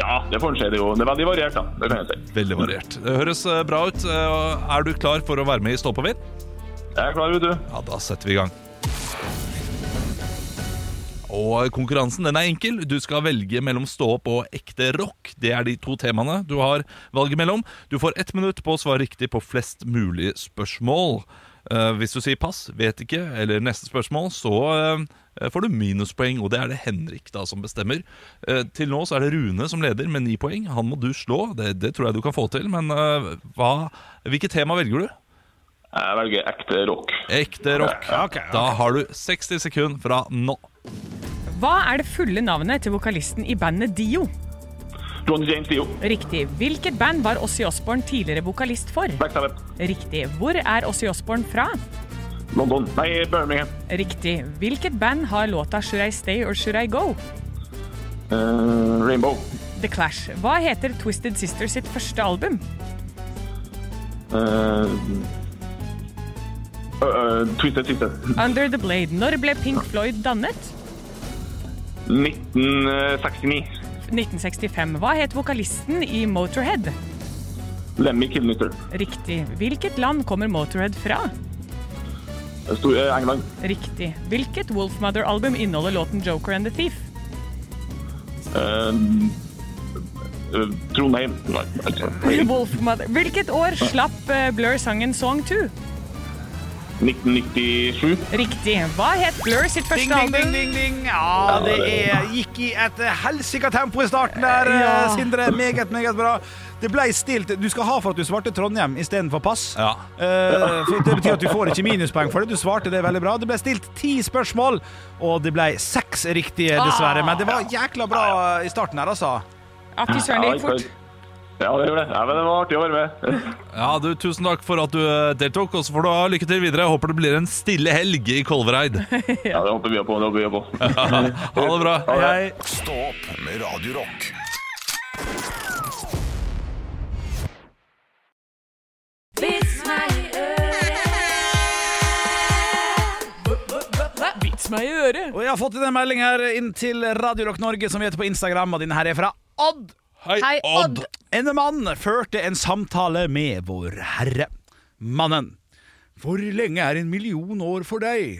Speaker 8: Ja, det får en si. Det er jo det er veldig variert, da. Det kan jeg si.
Speaker 4: Veldig variert. Det høres eh, bra ut. Eh, Er du klar for å være med i Stå på vind?
Speaker 8: Jeg er klar, vet du.
Speaker 4: Ja, da setter vi i gang. Og konkurransen den er enkel. Du skal velge mellom stå opp og ekte rock. Det er de to temaene du har valget mellom. Du får ett minutt på å svare riktig på flest mulig spørsmål. Eh, hvis du sier pass, vet ikke, eller neste spørsmål, så eh, får du minuspoeng. Og det er det Henrik da som bestemmer. Eh, til nå så er det Rune som leder med ni poeng. Han må du slå. Det, det tror jeg du kan få til. Men eh, hva, hvilket tema velger du?
Speaker 8: Jeg velger ekte rock.
Speaker 4: Ekte rock.
Speaker 2: Ok, ok.
Speaker 4: Da har du 60 sekunder fra nå.
Speaker 3: Hva er det fulle navnet til vokalisten i bandet Dio?
Speaker 8: Johnny James Dio.
Speaker 3: Riktig. Hvilket band var Ossie Osborne tidligere vokalist for?
Speaker 8: Black Sabbath.
Speaker 3: Riktig. Hvor er Ossie Osborne fra?
Speaker 8: London. Nei, Birmingham.
Speaker 3: Riktig. Hvilket band har låta Should I Stay or Should I Go?
Speaker 8: Eh, Rainbow.
Speaker 3: The Clash. Hva heter Twisted Sisters sitt første album?
Speaker 8: Eh, eh, Twisted Sister.
Speaker 3: Under the Blade. Når ble Pink Floyd dannet?
Speaker 8: 1969.
Speaker 3: 1965. Hva het vokalisten i Motorhead?
Speaker 8: Lemmy Kilmister.
Speaker 3: Riktig. Hvilket land kommer Motorhead fra?
Speaker 8: Stor, eh, England.
Speaker 3: Riktig. Hvilket Wolfmother-album inneholder låten 'Joker and the Thief'?
Speaker 8: Eh, eh, Trondheim. Nei, altså,
Speaker 3: Wolfmother. Hvilket år slapp eh, Blur sangen 'Song 2'?
Speaker 8: 1997.
Speaker 3: Riktig. Hva het Blur sitt
Speaker 2: Ding,
Speaker 3: første
Speaker 2: ding, ding,
Speaker 3: album?
Speaker 2: ding, ding. Ja, det er, gikk i et eh, helsika tempo i starten der,
Speaker 3: Ja.
Speaker 2: eh, Sindre. Meget, meget bra. Det ble stilt. Du skal ha for at du svarte Trondheim istedenfor pass.
Speaker 4: Ja.
Speaker 2: Eh, for det betyr at du får ikke minuspoeng for det. Du svarte det veldig bra. Det ble stilt ti spørsmål, og det ble seks riktige, dessverre. Men det var jækla bra i starten her, altså.
Speaker 3: Ja, fy søren, det gikk fort.
Speaker 8: Ja, det gjorde det. Ja, men det var artig å være med.
Speaker 4: Ja, du, Tusen takk for at du eh, deltok, og så får du ha lykke til videre. Jeg håper det blir en stille helg i Kolvereid.
Speaker 8: Ja, det håper vi på. Det håper vi på.
Speaker 4: Ha det bra.
Speaker 8: det.
Speaker 4: Hei.
Speaker 1: Stå opp med Radio Rock.
Speaker 3: Vits meg i øret.
Speaker 2: Og jeg har fått inn en melding her inn til Radio Rock Norge, som vi heter på Instagram, og denne her er fra Odd.
Speaker 3: Hei, Odd.
Speaker 2: En mann førte en samtale med vår herre. Mannen. Hvor lenge er en million år for deg?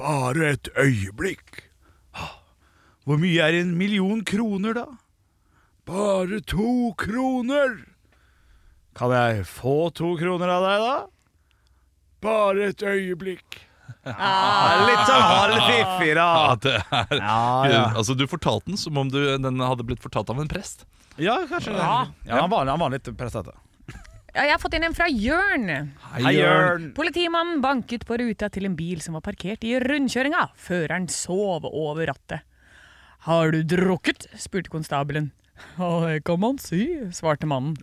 Speaker 2: Bare et øyeblikk. «Ah, Hvor mye er en million kroner, da? Bare to kroner. Kan jeg få to kroner av deg, da? Bare et øyeblikk. Ah, litt sånn halvfiffig, da.
Speaker 4: Ja, det er,
Speaker 2: Ja, ja.
Speaker 4: Altså, du fortalte den som om du, den hadde blitt fortalt av en prest.
Speaker 2: Ja, kanskje det.
Speaker 3: Ja.
Speaker 2: Ja, han, var, han var litt prestete.
Speaker 3: Ja, jeg har fått inn en fra Jørn.
Speaker 2: Hei, Jørn.
Speaker 3: Politimannen banket på ruta til en bil som var parkert i rundkjøringa. Føreren sov over rattet. Har du drukket? spurte konstabelen. Ja, det kan man si, svarte mannen.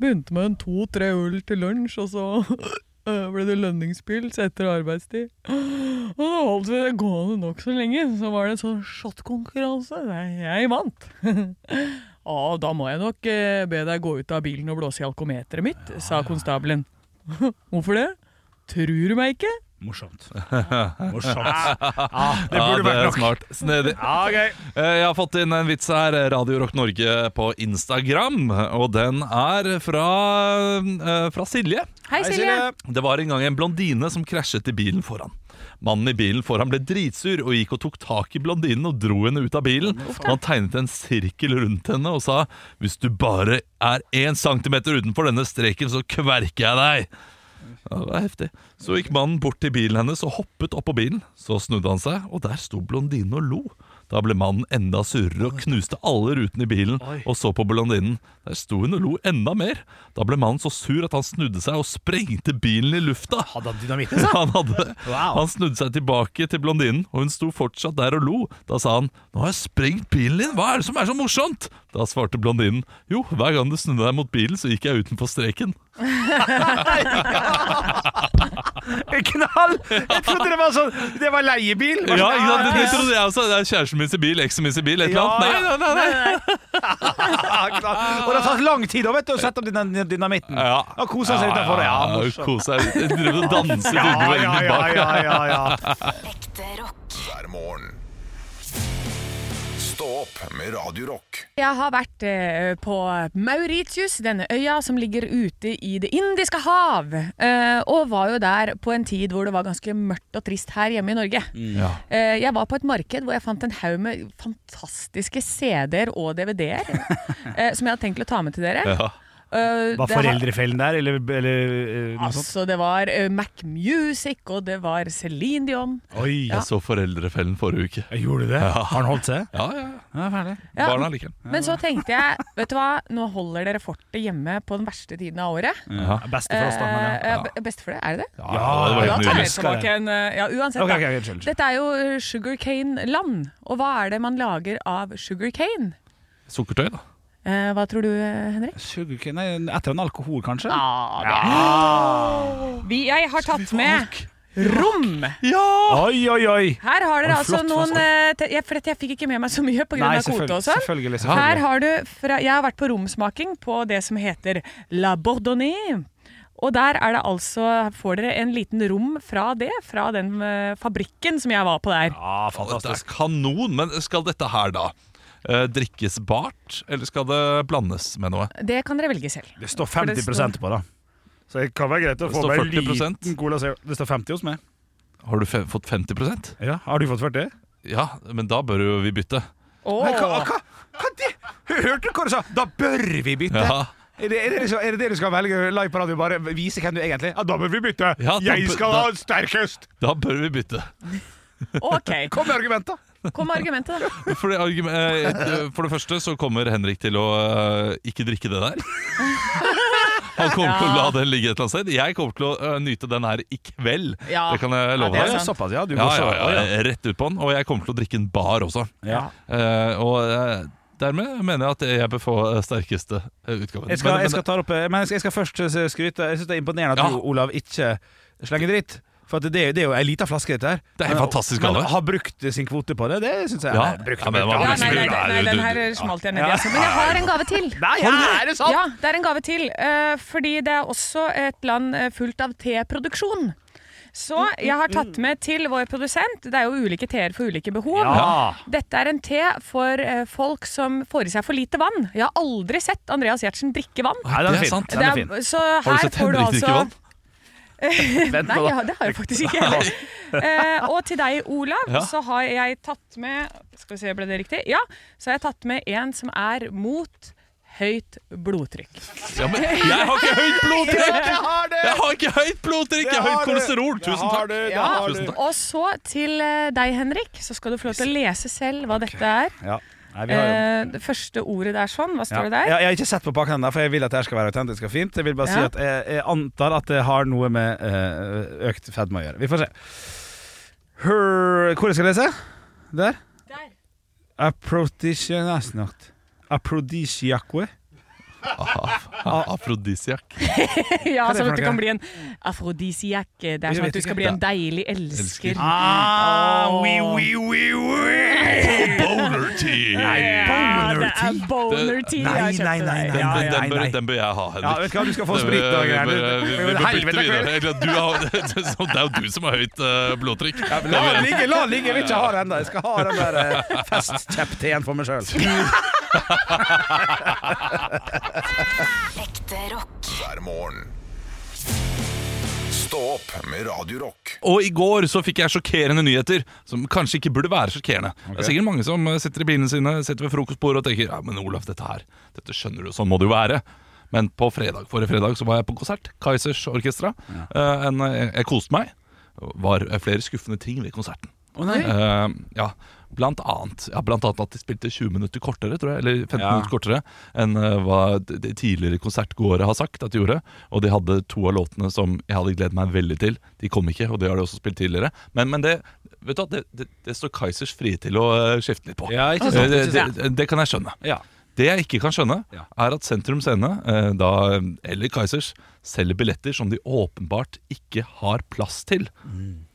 Speaker 3: Begynte med en to-tre øl til lunsj, og så eh, ble det lønningspils etter arbeidstid. Og da holdt vi det gående nokså lenge. Så var det en sånn shotkonkurranse. Nei, Jeg vant. Ja, da må jeg nok eh, be deg gå ut av bilen og blåse i alkometeret mitt, sa konstabelen. Hvorfor det? Tror du meg ikke?
Speaker 2: Morsomt. Morsomt. Ja, det
Speaker 4: Ja,
Speaker 2: burde
Speaker 4: det
Speaker 2: vært
Speaker 4: er
Speaker 2: nok.
Speaker 4: smart. Snedig.
Speaker 2: Ja, gøy.
Speaker 4: Eh, Jeg har fått inn en vits her, eh, Radio Rock Norge på Instagram, og den er fra, eh, fra Silje.
Speaker 3: Hei, Silje.
Speaker 4: Det var en gang en blondine som krasjet i bilen foran. Mannen i bilen foran ble dritsur og gikk og tok tak i blondinen og dro henne ut av bilen. Og han tegnet en sirkel rundt henne og sa Hvis du bare er én centimeter utenfor denne streken, så kverker jeg deg. Ja, det var heftig. Så gikk mannen bort til bilen hennes og hoppet opp på bilen. Så snudde han seg, og der sto blondinen og lo. Da ble mannen enda surere og knuste alle rutene i bilen og så på blondinen. Der sto hun og lo enda mer. Da ble mannen så sur at han snudde seg og sprengte bilen i lufta.
Speaker 2: Hadde han dynamitt?
Speaker 4: Han, hadde,
Speaker 2: Wow.
Speaker 4: han snudde seg tilbake til blondinen, og hun sto fortsatt der og lo. Da sa han 'Nå har jeg sprengt bilen din, hva er det som er så morsomt?' Da svarte blondinen 'Jo, hver gang du snudde deg mot bilen, så gikk jeg utenfor streken'.
Speaker 2: Knall! Jeg trodde det var sånn Det var leiebil.
Speaker 4: Ja,
Speaker 2: Var sånn,
Speaker 4: ikke sant? Det,
Speaker 2: ja,
Speaker 4: det trodde jeg også. Det er kjæresten min sin bil, eksen min sin bil, et eller
Speaker 2: Ja,
Speaker 4: annet.
Speaker 2: ja.
Speaker 4: Nei, nei, nei, nei.
Speaker 2: ja, ikke sant. Og det har tatt lang tid da, vet du, å sette opp den den dynamitten.
Speaker 4: Ja.
Speaker 2: Og kose seg utenfor. Ja, morsomt.
Speaker 4: Kose seg. Drive og danse
Speaker 2: Ja, ja,
Speaker 4: utenfor vinduet
Speaker 2: ja,
Speaker 4: bak.
Speaker 2: ja, ja, ja.
Speaker 5: Ekte rock.
Speaker 1: hver morgen. Stå opp med Radio Rock.
Speaker 3: Jeg har vært eh, på Mauritius, denne øya som ligger ute i Det indiske hav. Eh, og var jo der på en tid hvor det var ganske mørkt og trist her hjemme i Norge.
Speaker 4: Ja.
Speaker 3: Eh, jeg var på et marked hvor jeg fant en haug med fantastiske CD-er og DVD-er. eh, som jeg hadde tenkt å ta med til dere.
Speaker 4: Ja.
Speaker 3: Eh,
Speaker 2: Var
Speaker 3: det har-
Speaker 2: foreldrefellen der, eller, eller eh, noe sånt?
Speaker 3: Altså, det var eh, Mac Music, og det var Celine Dion.
Speaker 2: Oi.
Speaker 4: Jeg så Foreldrefellen forrige uke.
Speaker 2: Jeg gjorde det? Har han holdt seg?
Speaker 4: Ja, ja.
Speaker 2: Ja, ferdig.
Speaker 3: Ja.
Speaker 4: Barna liker den.
Speaker 3: Men så tenkte jeg, vet du hva, nå holder dere fortet hjemme på den verste tiden av året.
Speaker 2: Ja. Beste for oss, da. Men,
Speaker 3: Eh,
Speaker 2: ja.
Speaker 3: eh, Best for det, er det det?
Speaker 4: det var
Speaker 3: Da
Speaker 4: helt
Speaker 3: tar jeg
Speaker 4: nydelig.
Speaker 2: elsker det.
Speaker 3: tilbake en eh, Ja, uansett.
Speaker 2: Ok, ok,
Speaker 3: da.
Speaker 2: unnskyld.
Speaker 3: Dette er jo eh, sugarcane-land, og hva er det man lager av sugarcane?
Speaker 4: Sukkertøy, da.
Speaker 3: Eh, hva tror du, eh, Henrik?
Speaker 2: Sugarcane nei, Etter en alkohol, kanskje?
Speaker 3: Ja, det Vi, Jeg har tatt med rom.
Speaker 2: Oi, oi, oi!
Speaker 3: Her har dere
Speaker 2: Oi,
Speaker 3: altså
Speaker 2: flott,
Speaker 3: noen
Speaker 2: flott.
Speaker 3: eh, te- jeg, For dette- jeg fikk ikke med meg så mye pga. kvote og sånn.
Speaker 2: selvfølgelig,
Speaker 3: Her
Speaker 2: selvfølgelig.
Speaker 3: har du fra, Jeg har vært på romsmaking på det som heter La Bourdonnais. Og der er det altså, får dere en liten rom fra det, fra den eh, fabrikken som jeg var på der.
Speaker 2: Ja,
Speaker 4: Og Det er
Speaker 2: fantastisk.
Speaker 4: kanon, men skal dette her da eh, drikkes bart, eller skal det blandes med noe?
Speaker 3: Det kan dere velge selv.
Speaker 2: Det står
Speaker 3: For det
Speaker 2: 50 på, da. Så det kan være greit å
Speaker 4: Det
Speaker 2: få
Speaker 4: står
Speaker 2: meg en
Speaker 4: 40%.
Speaker 2: liten Cola Zero. Det står 50 hos meg.
Speaker 4: Har du fe fått 50
Speaker 2: Ja, Har du fått 40?
Speaker 4: Ja, men da bør jo vi bytte.
Speaker 3: Åh.
Speaker 2: Men hva, hva, hva det? Hørte du hva du sa? Da bør vi bytte!
Speaker 4: Ja.
Speaker 2: Er, det, er, det liksom, er det det du skal velge live på radio? Bare vise hvem du egentlig er? Ja, da bør vi bytte!
Speaker 4: Ja, da
Speaker 2: jeg
Speaker 4: bør-
Speaker 2: skal
Speaker 4: da-
Speaker 2: ha en sterk høst!
Speaker 4: Da bør vi bytte.
Speaker 3: Ok,
Speaker 2: Kom med argumenter!
Speaker 3: kom med argumentet, da.
Speaker 4: For det, argum- eh, for det første så kommer Henrik til å eh, ikke drikke det der. Han kommer til å la den ligge et eller annet sted. Jeg kommer til å eh, nyte den her i kveld.
Speaker 3: Ja.
Speaker 4: Det kan jeg
Speaker 3: Ja, det
Speaker 4: love
Speaker 3: er
Speaker 4: deg.
Speaker 3: sant.
Speaker 2: Såpass, ja. Du
Speaker 4: Ja,
Speaker 2: går så,
Speaker 4: ja,
Speaker 2: ja.
Speaker 4: ja, rett ut på den. Og jeg kommer til å drikke en bar også.
Speaker 2: Ja.
Speaker 4: Eh, og eh, dermed mener jeg at jeg bør få eh, sterkeste eh, utgaven.
Speaker 2: Jeg skal,
Speaker 4: Men-
Speaker 2: jeg skal ta det opp, eh, men jeg skal, jeg skal først eh, skryte. Jeg syns det er imponerende at
Speaker 4: Ja.
Speaker 2: du, Olav, ikke slenger dritt. For at det, er- det er jo ei lita flaske, dette her.
Speaker 4: Det er en
Speaker 2: Men-
Speaker 4: fantastisk
Speaker 2: Men
Speaker 4: gave.
Speaker 2: har brukt sin kvote på det, det syns jeg.
Speaker 4: Ja.
Speaker 2: Nei, brukt-
Speaker 4: Ja, men det var
Speaker 2: brukt-
Speaker 3: Ja,
Speaker 4: veldig
Speaker 3: nei,
Speaker 4: Nei,
Speaker 3: nei, nei, nei,
Speaker 4: du-
Speaker 3: den
Speaker 4: du-
Speaker 3: her
Speaker 4: ja.
Speaker 3: smalt jeg nedi. Altså. Men jeg har en gave til.
Speaker 2: Nei, ja, er det sant?
Speaker 3: Ja, det er en gave til. eh, Fordi det er også et land eh, fullt av teproduksjon. Så
Speaker 4: Mm,
Speaker 3: jeg har tatt med til vår produsent. Det er jo ulike teer for ulike behov.
Speaker 2: Ja.
Speaker 3: Dette er en te for eh, folk som får i seg for lite vann. Jeg har aldri sett Andreas Gjertsen drikke vann.
Speaker 2: Nei, den
Speaker 4: Det
Speaker 2: er
Speaker 4: er
Speaker 2: fin.
Speaker 4: sant.
Speaker 2: Den er
Speaker 3: Det er-
Speaker 2: fin.
Speaker 3: Så
Speaker 4: Har
Speaker 3: her
Speaker 4: du sett
Speaker 3: får du
Speaker 4: Henrik drikke
Speaker 3: altså-
Speaker 4: vann?
Speaker 2: Vent
Speaker 3: Nei,
Speaker 2: nå,
Speaker 3: ja,
Speaker 2: da.
Speaker 3: det har jeg faktisk ikke heller. Eh, og til deg, Olav,
Speaker 4: Ja.
Speaker 3: så har jeg tatt med Skal vi se, ble det riktig? Ja. Så har jeg tatt med en som er mot høyt blodtrykk.
Speaker 4: Ja, men jeg har ikke høyt blodtrykk!
Speaker 2: Jeg har det!
Speaker 4: Jeg har ikke høyt blodtrykk, jeg har høyt kolesterol! Tusen
Speaker 2: har
Speaker 4: takk.
Speaker 2: det, det
Speaker 4: Ja.
Speaker 2: har du.
Speaker 4: Tusen takk.
Speaker 3: Og så til eh, deg, Henrik, så skal du få lov til å lese selv hva dette er.
Speaker 2: Ja. Nei, vi har jo
Speaker 3: Eh, det første ordet der sånn, hva
Speaker 2: Ja. Ja,
Speaker 3: står det der?
Speaker 2: jeg har ikke sett på pakken ennå, for jeg vil at det her skal være autentisk og fint. Jeg vil bare si
Speaker 3: Ja.
Speaker 2: at jeg, jeg antar at det har noe med eh, økt fedme å gjøre. Vi får se. Her, hvor jeg skal lese? Der?
Speaker 3: Der.
Speaker 2: Aprotisianasnacht. Aprodisiakue.
Speaker 4: Ah, Afrodisiak.
Speaker 3: Ja,
Speaker 2: Hva er det
Speaker 3: sånn
Speaker 2: for
Speaker 3: at
Speaker 2: noe?
Speaker 3: du kan bli en afrodisiak. Det er sånn
Speaker 2: vet
Speaker 3: at du
Speaker 2: ikke.
Speaker 3: skal bli en deilig elsker.
Speaker 2: Ah, oui, oui, oui, oui.
Speaker 4: Boner tea!
Speaker 3: Ja, det er
Speaker 2: Boner-tea?
Speaker 3: boner-tea.
Speaker 2: Nei,
Speaker 3: jeg kjøpte
Speaker 2: nei, nei,
Speaker 3: der.
Speaker 2: nei,
Speaker 4: Den,
Speaker 3: Ja,
Speaker 2: nei.
Speaker 3: ja.
Speaker 4: den, bør,
Speaker 2: nei.
Speaker 4: den bør jeg ha,
Speaker 2: Ja,
Speaker 4: Henrik.
Speaker 2: vet du hva, du skal få
Speaker 4: Det-
Speaker 2: sprit og
Speaker 4: vi
Speaker 2: greier.
Speaker 4: bør- vi- vi bør bytte
Speaker 2: Helvete,
Speaker 4: videre. Eller, du har, det er jo du som har høyt eh, blodtrykk.
Speaker 2: La den ligge, la den ligge. Jeg vil ikke ha den ennå. Jeg skal ha den der eh, festkjepp-teen for meg sjøl.
Speaker 5: Ekte rock.
Speaker 1: hver morgen. Stå opp med Radio Rock.
Speaker 4: Og i går så fikk jeg sjokkerende nyheter som kanskje ikke burde være sjokkerende. Det er sikkert mange som eh, sitter i bilene sine, sitter ved frokostbordet og tenker ja, men Olaf, dette her, dette skjønner du, sånn må det jo være. Men på fredag, forrige fredag så var jeg på konsert. Kaizers Orkestra. Eh, en, eh, jeg koste meg. Var eh, flere skuffende ting ved konserten. Eh, ja, blant annet, ja, blant annet at de spilte 20 minutter kortere, tror jeg, eller 15
Speaker 2: Ja.
Speaker 4: minutter kortere enn eh, hva de de tidligere konsertgåere har sagt at de gjorde. Og de hadde to av låtene som jeg hadde gledet meg veldig til. De kom ikke, og det har de også spilt tidligere. Men, men det, vet du, hva, det, det, det står Kaizers frie til å eh, skifte litt på.
Speaker 2: Ja, ikke sant,
Speaker 3: Altså,
Speaker 4: Eh, det,
Speaker 2: ikke
Speaker 4: det,
Speaker 2: sant.
Speaker 4: det kan jeg skjønne.
Speaker 2: Ja.
Speaker 4: Det jeg ikke kan skjønne,
Speaker 2: Ja.
Speaker 4: er at Sentrum Scene, eh, da, eller Kaizers, selger billetter som de åpenbart ikke har plass til.
Speaker 2: Mm.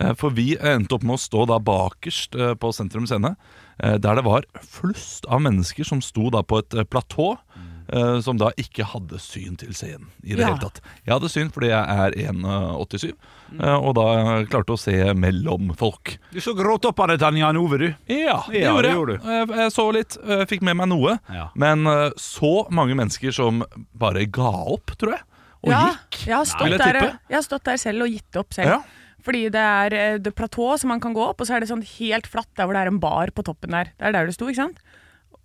Speaker 4: Eh, For vi endte opp med å stå da bakerst eh, på Sentrum Scene, eh, der det var flust av mennesker som sto da på et eh, platå,
Speaker 2: Mm.
Speaker 4: eh, som da ikke hadde syn til scenen i det
Speaker 3: Ja.
Speaker 4: hele tatt. Jeg hadde syn fordi jeg er 1,87,
Speaker 2: Mm.
Speaker 4: eh, og da klarte å se mellom folk.
Speaker 2: Du så gråt opp av det, Jan Ove, du.
Speaker 4: Ja, det
Speaker 2: Ja,
Speaker 4: gjorde
Speaker 2: det
Speaker 4: jeg.
Speaker 2: gjorde
Speaker 4: jeg. Jeg så litt, jeg fikk med meg noe.
Speaker 2: Ja.
Speaker 4: Men eh, så mange mennesker som bare ga opp, tror jeg. Og
Speaker 3: ja,
Speaker 4: gikk.
Speaker 3: jeg har,
Speaker 4: Vil
Speaker 3: stått
Speaker 4: jeg
Speaker 3: der,
Speaker 4: tippe?
Speaker 3: jeg har stått der selv og gitt opp selv.
Speaker 4: Ja.
Speaker 3: Fordi det er eh, det platå som man kan gå opp, og så er det sånn helt flatt der hvor det er en bar på toppen der. Det er der du sto, ikke sant?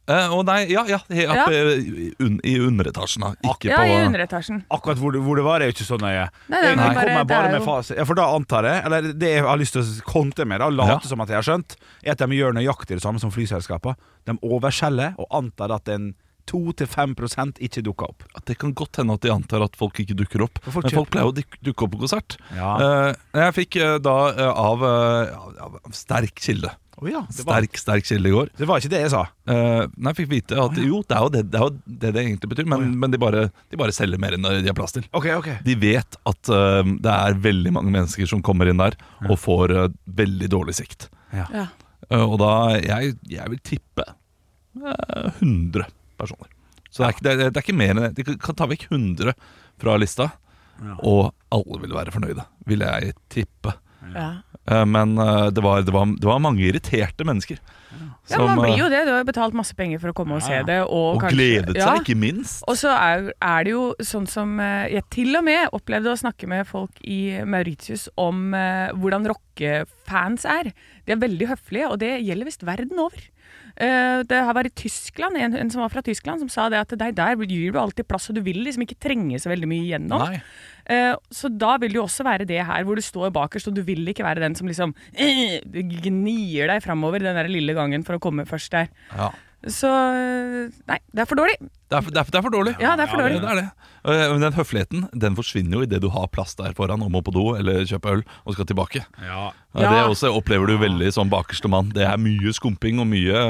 Speaker 4: Eh, og nei, ja, ja, he-
Speaker 3: Ja.
Speaker 4: oppe i- un, i underetasjen, da. Ikke
Speaker 3: Ja,
Speaker 4: på
Speaker 3: i underetasjen.
Speaker 2: Akkurat hvor det, hvor det var, er jo ikke så nøye.
Speaker 3: Nei, det er
Speaker 2: Jeg
Speaker 3: bare-
Speaker 2: kommer
Speaker 3: det
Speaker 2: bare
Speaker 3: er
Speaker 2: med
Speaker 3: jo-
Speaker 2: fase. Ja, For da antar jeg, eller det jeg har lyst til å konte med, da, late
Speaker 4: Ja.
Speaker 2: som at jeg har skjønt, er at de gjør nøyaktig det samme som flyselskapene. De overskjeller og antar at en 2-5 ikke dukker opp.
Speaker 4: at det kan godt hende at de antar at folk ikke dukker opp.
Speaker 2: For folk
Speaker 4: men folk
Speaker 2: kjøper-
Speaker 4: pleier å duk- dukke opp på konsert.
Speaker 2: Ja.
Speaker 4: Eh, jeg fikk eh, da eh, av, eh, av- av sterk kilde.
Speaker 2: Å ja, det var,
Speaker 4: Sterk, sterk kilde i går.
Speaker 2: det var ikke det jeg sa.
Speaker 4: Eh, nei, jeg fikk vite at jo, det er jo det det, er jo det, det egentlig betyr, men, men de, bare, de bare selger mer enn de har plass til.
Speaker 2: Ok, ok.
Speaker 4: De vet at eh, det er veldig mange mennesker som kommer inn der og får eh, veldig dårlig sikt.
Speaker 3: Ja.
Speaker 4: Eh, og da jeg, jeg vil tippe eh, 100 personer. Så det er, ikke, det, er, det er ikke mer enn det. De kan- kan ta vekk 100 fra lista. Og alle ville være fornøyde, vil jeg tippe.
Speaker 3: Ja.
Speaker 4: Eh, Men eh, det var, det, var, det var mange irriterte mennesker.
Speaker 3: ja, man blir jo
Speaker 4: eh,
Speaker 3: det. Du har jo betalt masse penger for å komme og se det. Og,
Speaker 4: og
Speaker 3: kanskje-
Speaker 4: gledet
Speaker 3: Ja.
Speaker 4: seg, ikke minst.
Speaker 3: Og så er, er det jo sånn som eh, jeg til og med opplevde å snakke med folk i Mauritius om eh, hvordan rockefans er. De er veldig høflige, og det gjelder visst verden over. Eh, det her var i Tyskland, en, en som var fra Tyskland, som sa det at deg der gir du alltid plass, og du vil liksom ikke trenge så veldig mye igjennom.
Speaker 4: Nei.
Speaker 3: Eh, så da vil det jo også være det her hvor du står bakerst, og du vil ikke være den som liksom eh, gnir deg framover den der lille gangen for å komme først der.
Speaker 4: Ja.
Speaker 3: Så eh, Nei, det er for dårlig.
Speaker 4: Det er, for- det, er, for- det er for dårlig.
Speaker 3: Ja, det er for dårlig.
Speaker 4: det er det. Eh, Men den høfligheten den forsvinner jo idet du har plass der foran og må på do eller kjøpe øl og skal tilbake.
Speaker 2: Ja.
Speaker 4: Eh,
Speaker 3: Ja.
Speaker 4: Det også opplever du veldig som bakerste mann. Det er mye skumping og mye,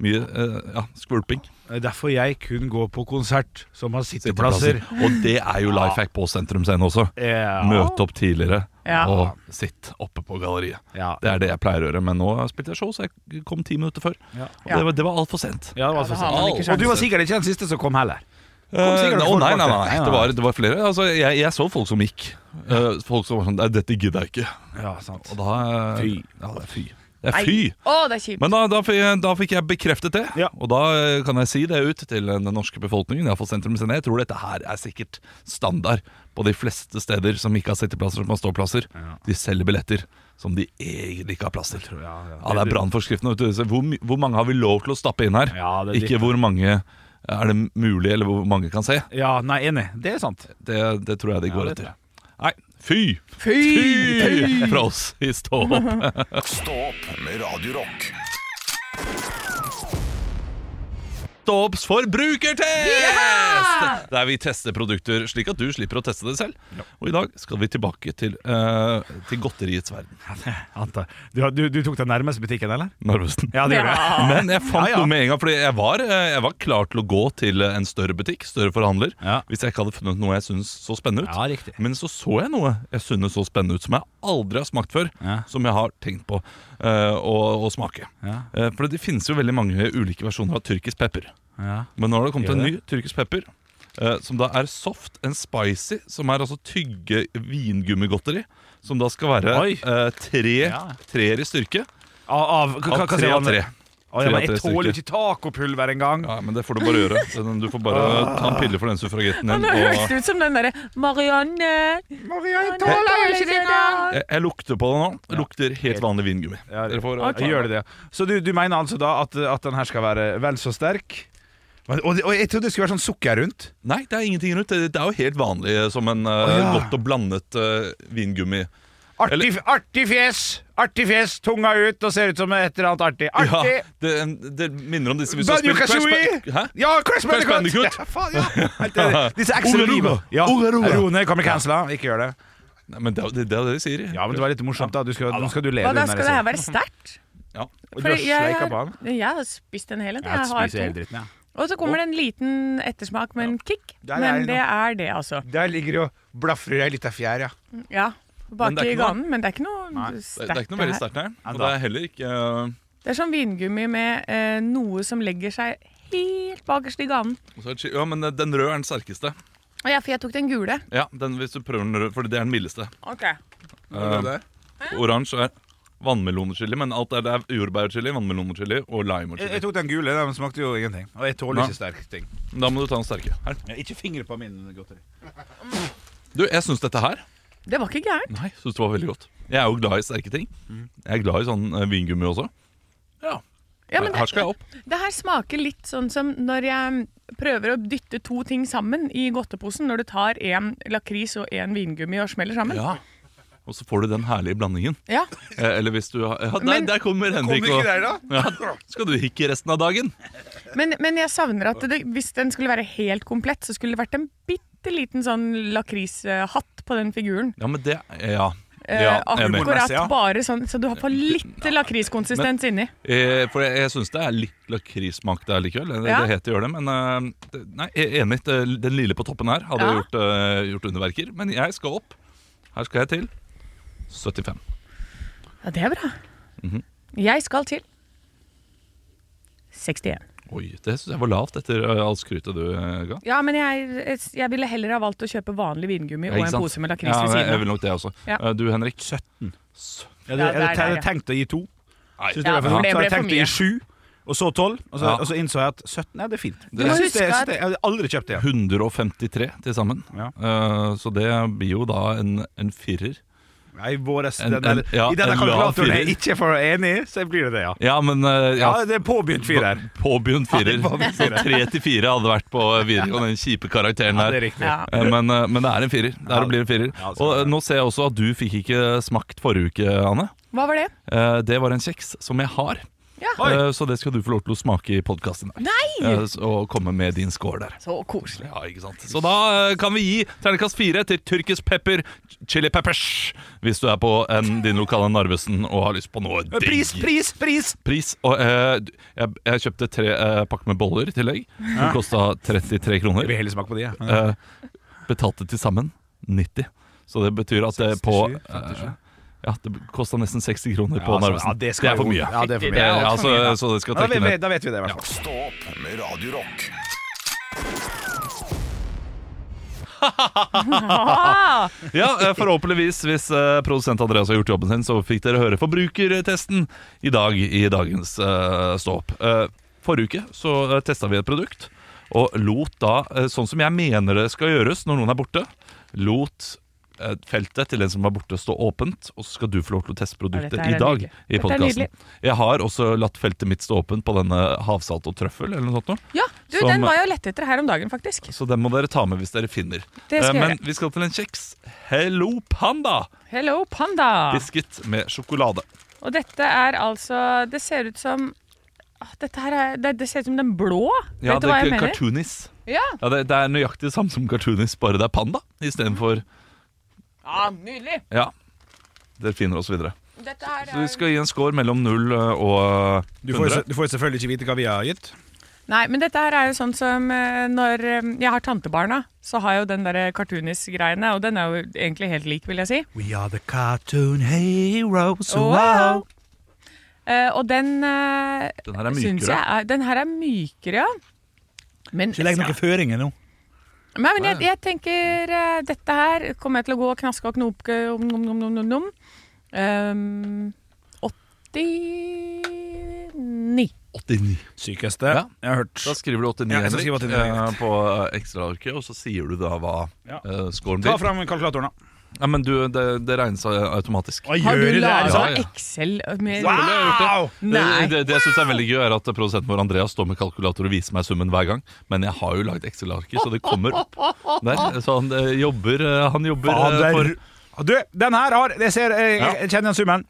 Speaker 4: mye eh, ja, skvulping.
Speaker 2: Det er Derfor jeg kun går på konsert som har sitteplasser.
Speaker 4: Sitteplasser. Og det er jo life hack på Sentrum Scene også.
Speaker 2: Ja.
Speaker 4: Møte opp tidligere
Speaker 3: Ja.
Speaker 4: og sitt oppe på galleriet.
Speaker 2: Ja.
Speaker 4: Det er det jeg pleier å gjøre, men nå spilte jeg show, så jeg kom ti minutter før.
Speaker 2: Ja.
Speaker 4: Og det var, det var altfor sent.
Speaker 2: Ja, det var
Speaker 3: Ja,
Speaker 2: så
Speaker 3: da har man ikke
Speaker 2: sent. Og du var sikkert ikke den siste som kom heller.
Speaker 4: Eh,
Speaker 2: sikkert
Speaker 4: nei,
Speaker 2: folk bak
Speaker 4: nei, nei,
Speaker 2: deg.
Speaker 4: nei,
Speaker 2: Nei, nei.
Speaker 4: Det, var, det var flere. Altså, jeg, jeg så folk som gikk. Eh, folk som var sånn Nei, dette gidder jeg ikke.
Speaker 2: Ja, sant.
Speaker 4: Og da eh,
Speaker 2: Fy.
Speaker 4: Ja, det er fy. Det er fy.
Speaker 3: Å, det er kjipt.
Speaker 4: Men da, da, fikk jeg, da fikk jeg bekreftet det,
Speaker 2: Ja.
Speaker 4: og da eh, kan jeg si det ut til den norske befolkningen. Jeg, har fått sentrum Jeg tror dette her er sikkert standard på de fleste steder som ikke har sitteplasser, som har ståplasser. De selger billetter som de egentlig ikke har plass til. ja, det er brannforskriften. vet du. Så Hvor, my- hvor mange har vi lov til å stappe inn her?
Speaker 2: Ja, det er
Speaker 4: ikke
Speaker 2: litt-
Speaker 4: hvor mange er det mulig, eller hvor mange kan se.
Speaker 2: Ja, nei, enig. Det er sant.
Speaker 4: Det, det tror jeg de går
Speaker 2: det tror
Speaker 4: etter. Nei, fy!
Speaker 3: Fy!
Speaker 4: Fy! Fra oss i Stå opp.
Speaker 1: Stå opp med Radio Rock.
Speaker 4: Stopps forbrukertest! Der vi tester produkter slik at du slipper å teste det selv. Og i dag skal vi tilbake til, eh, til godteriets verden.
Speaker 2: Ante. Du, du, du tok den nærmeste butikken, eller?
Speaker 4: Narvesen.
Speaker 2: Ja, det gjorde jeg.
Speaker 4: Men jeg
Speaker 2: Ja,
Speaker 4: fant
Speaker 2: ja.
Speaker 4: noe med en gang, Fordi jeg var, eh, jeg var klar til å gå til eh, en større butikk, større forhandler,
Speaker 2: Ja.
Speaker 4: hvis jeg ikke hadde funnet noe jeg syntes så spennende ut.
Speaker 2: Ja, riktig.
Speaker 4: Men så så jeg noe jeg synes så spennende ut, som jeg aldri har smakt før.
Speaker 2: Ja.
Speaker 4: Som jeg har tenkt på eh, å, å smake.
Speaker 2: Ja.
Speaker 4: Eh, for det finnes jo veldig mange ulike versjoner av tyrkisk pepper.
Speaker 2: Ja.
Speaker 4: Men nå har det kommet
Speaker 2: Gjør
Speaker 4: en
Speaker 2: det.
Speaker 4: ny tyrkisk pepper. eh, som da er soft and spicy, som er altså tygge vingummigodteri. Som da skal være
Speaker 2: Oi.
Speaker 4: eh, tre
Speaker 2: Ja.
Speaker 4: treer i styrke.
Speaker 2: Av, av, hva-
Speaker 4: Av
Speaker 2: hva- hva
Speaker 4: tre
Speaker 2: sier
Speaker 4: av
Speaker 2: man? Å,
Speaker 4: tre.
Speaker 2: ja,
Speaker 4: Tre av
Speaker 2: men
Speaker 4: tre
Speaker 2: jeg tåler jo ikke tacopulver engang.
Speaker 4: Ja, men det får du bare gjøre. Den- Du får bare ta en pille for den suffragetten din.
Speaker 3: Nå høres
Speaker 4: Og
Speaker 3: det ut som den derre Marianne
Speaker 2: Maria, jeg
Speaker 3: tåler ikke det engang.
Speaker 4: jeg, jeg lukter på det nå. Det lukter helt vanlig vingummi.
Speaker 2: Ja,
Speaker 4: Dere får,
Speaker 2: ok. Gjør det det. Så du, du mener altså da at, at den her skal være vel så sterk? Men- Og, og jeg trodde det skulle være sånn sukker rundt.
Speaker 4: Nei, det er ingenting rundt. Det, det er jo helt vanlig eh, som en eh,
Speaker 2: ja.
Speaker 4: godt og blandet eh, vingummi.
Speaker 2: Artig, artig fjes! Artig fjes, tunga ut og ser ut som et eller annet artig.
Speaker 4: Ja,
Speaker 2: Artig!
Speaker 4: det, det minner om disse hvis du har
Speaker 2: Banjo
Speaker 4: spilt Crash
Speaker 2: Kazooie!
Speaker 4: Ba- Hæ?
Speaker 2: Ja, Crash
Speaker 4: Crash
Speaker 2: Bandicoot!
Speaker 4: Bandicoot.
Speaker 2: Ja, faen, ja. Helt enig. Disse
Speaker 4: Oga
Speaker 2: ekstra
Speaker 4: Ruga.
Speaker 2: livet. Ja.
Speaker 4: Oga Ruga.
Speaker 2: Rone kommer cancela. Ikke gjør det.
Speaker 4: Nei, men det, er jo- det, det er det de sier.
Speaker 2: Ja, men det var litt morsomt, da. Du skal, nå skal du le.
Speaker 3: Hva
Speaker 2: når
Speaker 3: da,
Speaker 2: jeg
Speaker 3: skal det
Speaker 2: sier
Speaker 3: her være sterkt?
Speaker 4: Ja.
Speaker 2: Og du
Speaker 3: For
Speaker 2: har
Speaker 3: jeg,
Speaker 2: sleika på
Speaker 3: har,
Speaker 2: den?
Speaker 3: jeg har spist en hel en.
Speaker 2: Jeg
Speaker 3: Jeg har
Speaker 2: spiser hele
Speaker 3: to.
Speaker 2: dritten, jeg.
Speaker 3: Og så kommer det en liten ettersmak med en kick.
Speaker 2: Der er
Speaker 3: Men
Speaker 2: det
Speaker 3: det er det, altså.
Speaker 2: Der ligger det og blafrer ei lita fjær, ja.
Speaker 3: Ja.
Speaker 4: Men det
Speaker 3: Bak
Speaker 4: er
Speaker 3: i
Speaker 4: ikke noe-
Speaker 3: ganen, men det er ikke noe
Speaker 4: Det, det er
Speaker 3: sterkt.
Speaker 4: ikke noe veldig
Speaker 3: det her.
Speaker 4: sterkt her.
Speaker 2: da.
Speaker 4: Og det er heller ikke eh,
Speaker 3: Det er sånn vingummi med eh, noe som legger seg helt bakerst i ganen.
Speaker 4: og så er det chi- Ja, men eh, den røde er den sterkeste.
Speaker 3: Å ja, for jeg tok den gule.
Speaker 4: Ja, den, hvis du prøver den røde, for det er den mildeste.
Speaker 3: Ok.
Speaker 4: Eh, Oransje er vannmelonchili, men alt er, det er jordbærchili, vannmelonchili og lime og
Speaker 2: Jeg,
Speaker 4: chili.
Speaker 2: jeg tok den gule, den smakte jo ingenting. Og jeg tåler
Speaker 4: Nei.
Speaker 2: ikke sterke ting.
Speaker 4: Da må du ta den sterke. Her.
Speaker 2: Ja, Ikke fingre på min godteri.
Speaker 4: Du, jeg syns dette her
Speaker 3: Det var ikke gærent.
Speaker 4: Nei, synes det var veldig godt. Jeg er jo glad i sterke ting. Jeg er glad i sånn eh, vingummi også. Ja,
Speaker 3: Ja, men
Speaker 4: her, her skal jeg opp.
Speaker 3: Det her smaker litt sånn som når jeg prøver å dytte to ting sammen i godteposen, når du tar en lakris og en vingummi og smeller sammen.
Speaker 4: Ja. Og så får du den herlige blandingen.
Speaker 3: Ja.
Speaker 4: Eh, Eller hvis du har ja, der,
Speaker 3: Men-
Speaker 4: der kommer Henrik
Speaker 2: Kommer ikke
Speaker 4: og
Speaker 2: der, da?
Speaker 4: ja, Skal du hikke resten av dagen?
Speaker 3: Men, men jeg savner at det, hvis den skulle være helt komplett, så skulle det vært en bitte liten sånn lakrishatt på den figuren.
Speaker 4: Ja, men det Ja.
Speaker 3: Eh,
Speaker 4: ja jeg er med.
Speaker 3: akkurat
Speaker 2: Humormessig, ja.
Speaker 3: bare sånn, så du har for litt lakriskonsistens inni.
Speaker 4: Eh, for jeg, jeg syns det er litt lakrissmak der likevel. Det,
Speaker 3: Ja.
Speaker 4: det heter gjør det, men eh, det, Nei, jeg er enig. Det, den lille på toppen her hadde
Speaker 3: Ja.
Speaker 4: gjort, eh, gjort underverker. Men jeg skal opp. Her skal jeg til 75. Mhm.
Speaker 3: Ja, det er bra. Jeg skal til 61.
Speaker 4: Oi, det syns jeg var lavt etter eh, alt skrytet du eh, ga.
Speaker 3: Ja, men jeg, jeg ville heller ha valgt å kjøpe vanlig vingummi og
Speaker 4: Ikke
Speaker 3: en
Speaker 4: sant?
Speaker 3: pose med lakris
Speaker 4: Ja,
Speaker 3: ved
Speaker 4: jeg, jeg
Speaker 3: siden
Speaker 4: vil
Speaker 3: av.
Speaker 4: nok det også.
Speaker 3: Ja.
Speaker 4: Eh, Du, Henrik?
Speaker 2: 17. Jeg
Speaker 3: Ja,
Speaker 2: hadde,
Speaker 3: der,
Speaker 2: jeg
Speaker 3: der,
Speaker 2: hadde
Speaker 3: ja.
Speaker 2: tenkt å gi to. Synes
Speaker 4: Nei,
Speaker 2: det
Speaker 3: Ja,
Speaker 2: var for
Speaker 3: for
Speaker 2: hardt,
Speaker 3: det
Speaker 2: så
Speaker 3: ble
Speaker 2: jeg
Speaker 3: for
Speaker 2: tenkte å gi
Speaker 3: mye.
Speaker 2: sju, og så tolv. Og, så-
Speaker 4: Ja.
Speaker 2: og så innså jeg at 17 ja, det er fint.
Speaker 4: Du
Speaker 2: Jeg
Speaker 4: må
Speaker 2: synes det-
Speaker 3: huske
Speaker 2: jeg synes
Speaker 3: at-
Speaker 2: det- jeg hadde aldri kjøpt det.
Speaker 4: 153 til sammen.
Speaker 2: Ja.
Speaker 4: Eh, så det blir jo da en, en firer.
Speaker 2: Nei, våres,
Speaker 4: En-
Speaker 2: den der,
Speaker 4: en- ja,
Speaker 2: I denne
Speaker 4: en lav
Speaker 2: kalkulatoren jeg
Speaker 4: firer.
Speaker 2: ikke er for enig, så blir det det, ja.
Speaker 4: Ja, men eh, ja,
Speaker 2: Ja, det er påbegynt firer.
Speaker 4: Påbegynt firer.
Speaker 2: Ja, påbegynt
Speaker 4: Så tre til fire hadde vært på videregående, den kjipe karakteren
Speaker 2: Ja,
Speaker 4: der.
Speaker 2: det er riktig.
Speaker 3: Ja.
Speaker 4: Eh, Men, eh, men det er en firer. Det er og blir en firer.
Speaker 2: Ja, så-
Speaker 4: Og eh, nå ser jeg også at du fikk ikke smakt forrige uke, Anne.
Speaker 3: Hva var det?
Speaker 4: Eh, Det var en kjeks som jeg har.
Speaker 3: Ja.
Speaker 2: Oi.
Speaker 4: Eh, Så det skal du få lov til å smake i podkasten.
Speaker 3: Nei!
Speaker 4: Og komme med din score der.
Speaker 3: Så koselig.
Speaker 4: Ja, ikke sant Så da eh, kan vi gi terningkast fire til tyrkisk pepper, chili peppers, hvis du er på en, din lokale Narvesen og har lyst på noe digg.
Speaker 2: Eh, Pris, pris, pris!
Speaker 4: Pris, og eh, du- jeg, jeg kjøpte tre eh, pakker med boller i tillegg. Den kosta 33
Speaker 2: Jeg
Speaker 4: kroner.
Speaker 2: vil heller smake på de. Ja.
Speaker 4: Eh, betalte til sammen 90. Så det betyr at det på eh, Ja, det kosta nesten 60 kroner på
Speaker 2: Ja, altså,
Speaker 4: Narvesen.
Speaker 2: ja, det skal
Speaker 4: er for
Speaker 2: jo- ja,
Speaker 4: mye.
Speaker 2: det er for mye.
Speaker 4: Eh,
Speaker 2: Det er
Speaker 4: ja,
Speaker 2: alt for
Speaker 4: så,
Speaker 2: mye, ja.
Speaker 4: så det skal
Speaker 2: Ja, da,
Speaker 4: trekke
Speaker 2: vet,
Speaker 4: ned.
Speaker 2: da vet vi det, i hvert fall.
Speaker 1: Stå opp med Radio Rock.
Speaker 3: Ah,
Speaker 4: Ja, eh, Forhåpentligvis, hvis eh, produsent Andreas har gjort jobben sin, så fikk dere høre forbrukertesten i dag i dagens eh, Stå opp. Eh, forrige uke så testa vi et produkt, og lot da, eh, sånn som jeg mener det skal gjøres når noen er borte, lot eh, feltet til den som er borte, stå åpent, og så skal du få lov til å teste
Speaker 3: Ja,
Speaker 4: produktet
Speaker 3: dette
Speaker 4: i
Speaker 3: her er
Speaker 4: dag
Speaker 3: nydelig.
Speaker 4: i
Speaker 3: Dette er
Speaker 4: podkasten.
Speaker 3: nydelig.
Speaker 4: Jeg har også latt feltet mitt stå åpent på denne havsalt og trøffel, eller noe sånt. noe.
Speaker 3: ja, du,
Speaker 4: Som-
Speaker 3: den var jeg og lette etter her om dagen, faktisk.
Speaker 4: Så den må dere ta med hvis dere finner.
Speaker 3: Det
Speaker 4: Eh,
Speaker 3: skal jeg
Speaker 4: Men
Speaker 3: gjøre.
Speaker 4: vi skal til en kjeks. Hello Panda!
Speaker 3: Hello, panda!
Speaker 4: Biskuit med sjokolade.
Speaker 3: Og dette er altså Det ser ut som ah, dette her er, det, det ser ut som den blå.
Speaker 4: Ja,
Speaker 3: Vet du
Speaker 4: det
Speaker 3: hva
Speaker 4: er
Speaker 3: jeg
Speaker 4: ikke
Speaker 3: mener?
Speaker 4: cartoonis.
Speaker 3: Ja.
Speaker 4: Ja, det, det er nøyaktig det samme som cartoonis, bare det er panda istedenfor
Speaker 3: ja, nydelig.
Speaker 4: ja, delfiner osv. Så, videre.
Speaker 3: Dette her
Speaker 4: så vi
Speaker 3: er
Speaker 4: skal gi en score mellom 0 og
Speaker 2: Du får, jo-
Speaker 4: 100.
Speaker 2: du får jo selvfølgelig ikke vite hva vi har gitt.
Speaker 3: Nei, men dette her er jo sånn som eh, når eh, jeg har tantebarna, så har jeg jo den derre cartoonis-greiene, og den er jo egentlig helt lik, vil jeg si.
Speaker 2: We are the cartoon heroes.
Speaker 3: Oh, wow. Eh, og den eh,
Speaker 4: Den her er
Speaker 3: syns
Speaker 4: mykere.
Speaker 3: jeg er Den her er mykere, ja. Men,
Speaker 2: Ikke legg noen føringer nå.
Speaker 3: Nei, men jeg, jeg tenker eh, dette her kommer jeg til å gå og knaske og knope om nom, nom, nom, nom, nom. Ehm, 89.
Speaker 4: 89.
Speaker 2: Sykeste
Speaker 4: Ja.
Speaker 2: jeg har hørt.
Speaker 4: Da skriver du 89,
Speaker 2: Ja, jeg skal skrive 89,
Speaker 4: Henrik,
Speaker 2: greit.
Speaker 4: eh, på ekstraarket, og så sier du da hva
Speaker 2: Ja.
Speaker 4: eh, scoren
Speaker 2: Ta
Speaker 4: blir.
Speaker 2: fram kalkulatoren, da.
Speaker 4: Ja, men du, det, det regnes automatisk.
Speaker 3: Har du laga
Speaker 4: Ja, ja.
Speaker 3: Excel med
Speaker 2: Wow!
Speaker 4: Eh, Det,
Speaker 3: Nei.
Speaker 4: det, det jeg synes er veldig gøy er at Produsenten vår Andreas står med kalkulator og viser meg summen hver gang. Men jeg har jo lagd Excel-arket, så det kommer opp der. Så han eh, jobber, eh, han jobber eh, for
Speaker 2: Fader. Du, den her har Jeg, ser, jeg,
Speaker 4: Ja.
Speaker 2: jeg kjenner igjen summen.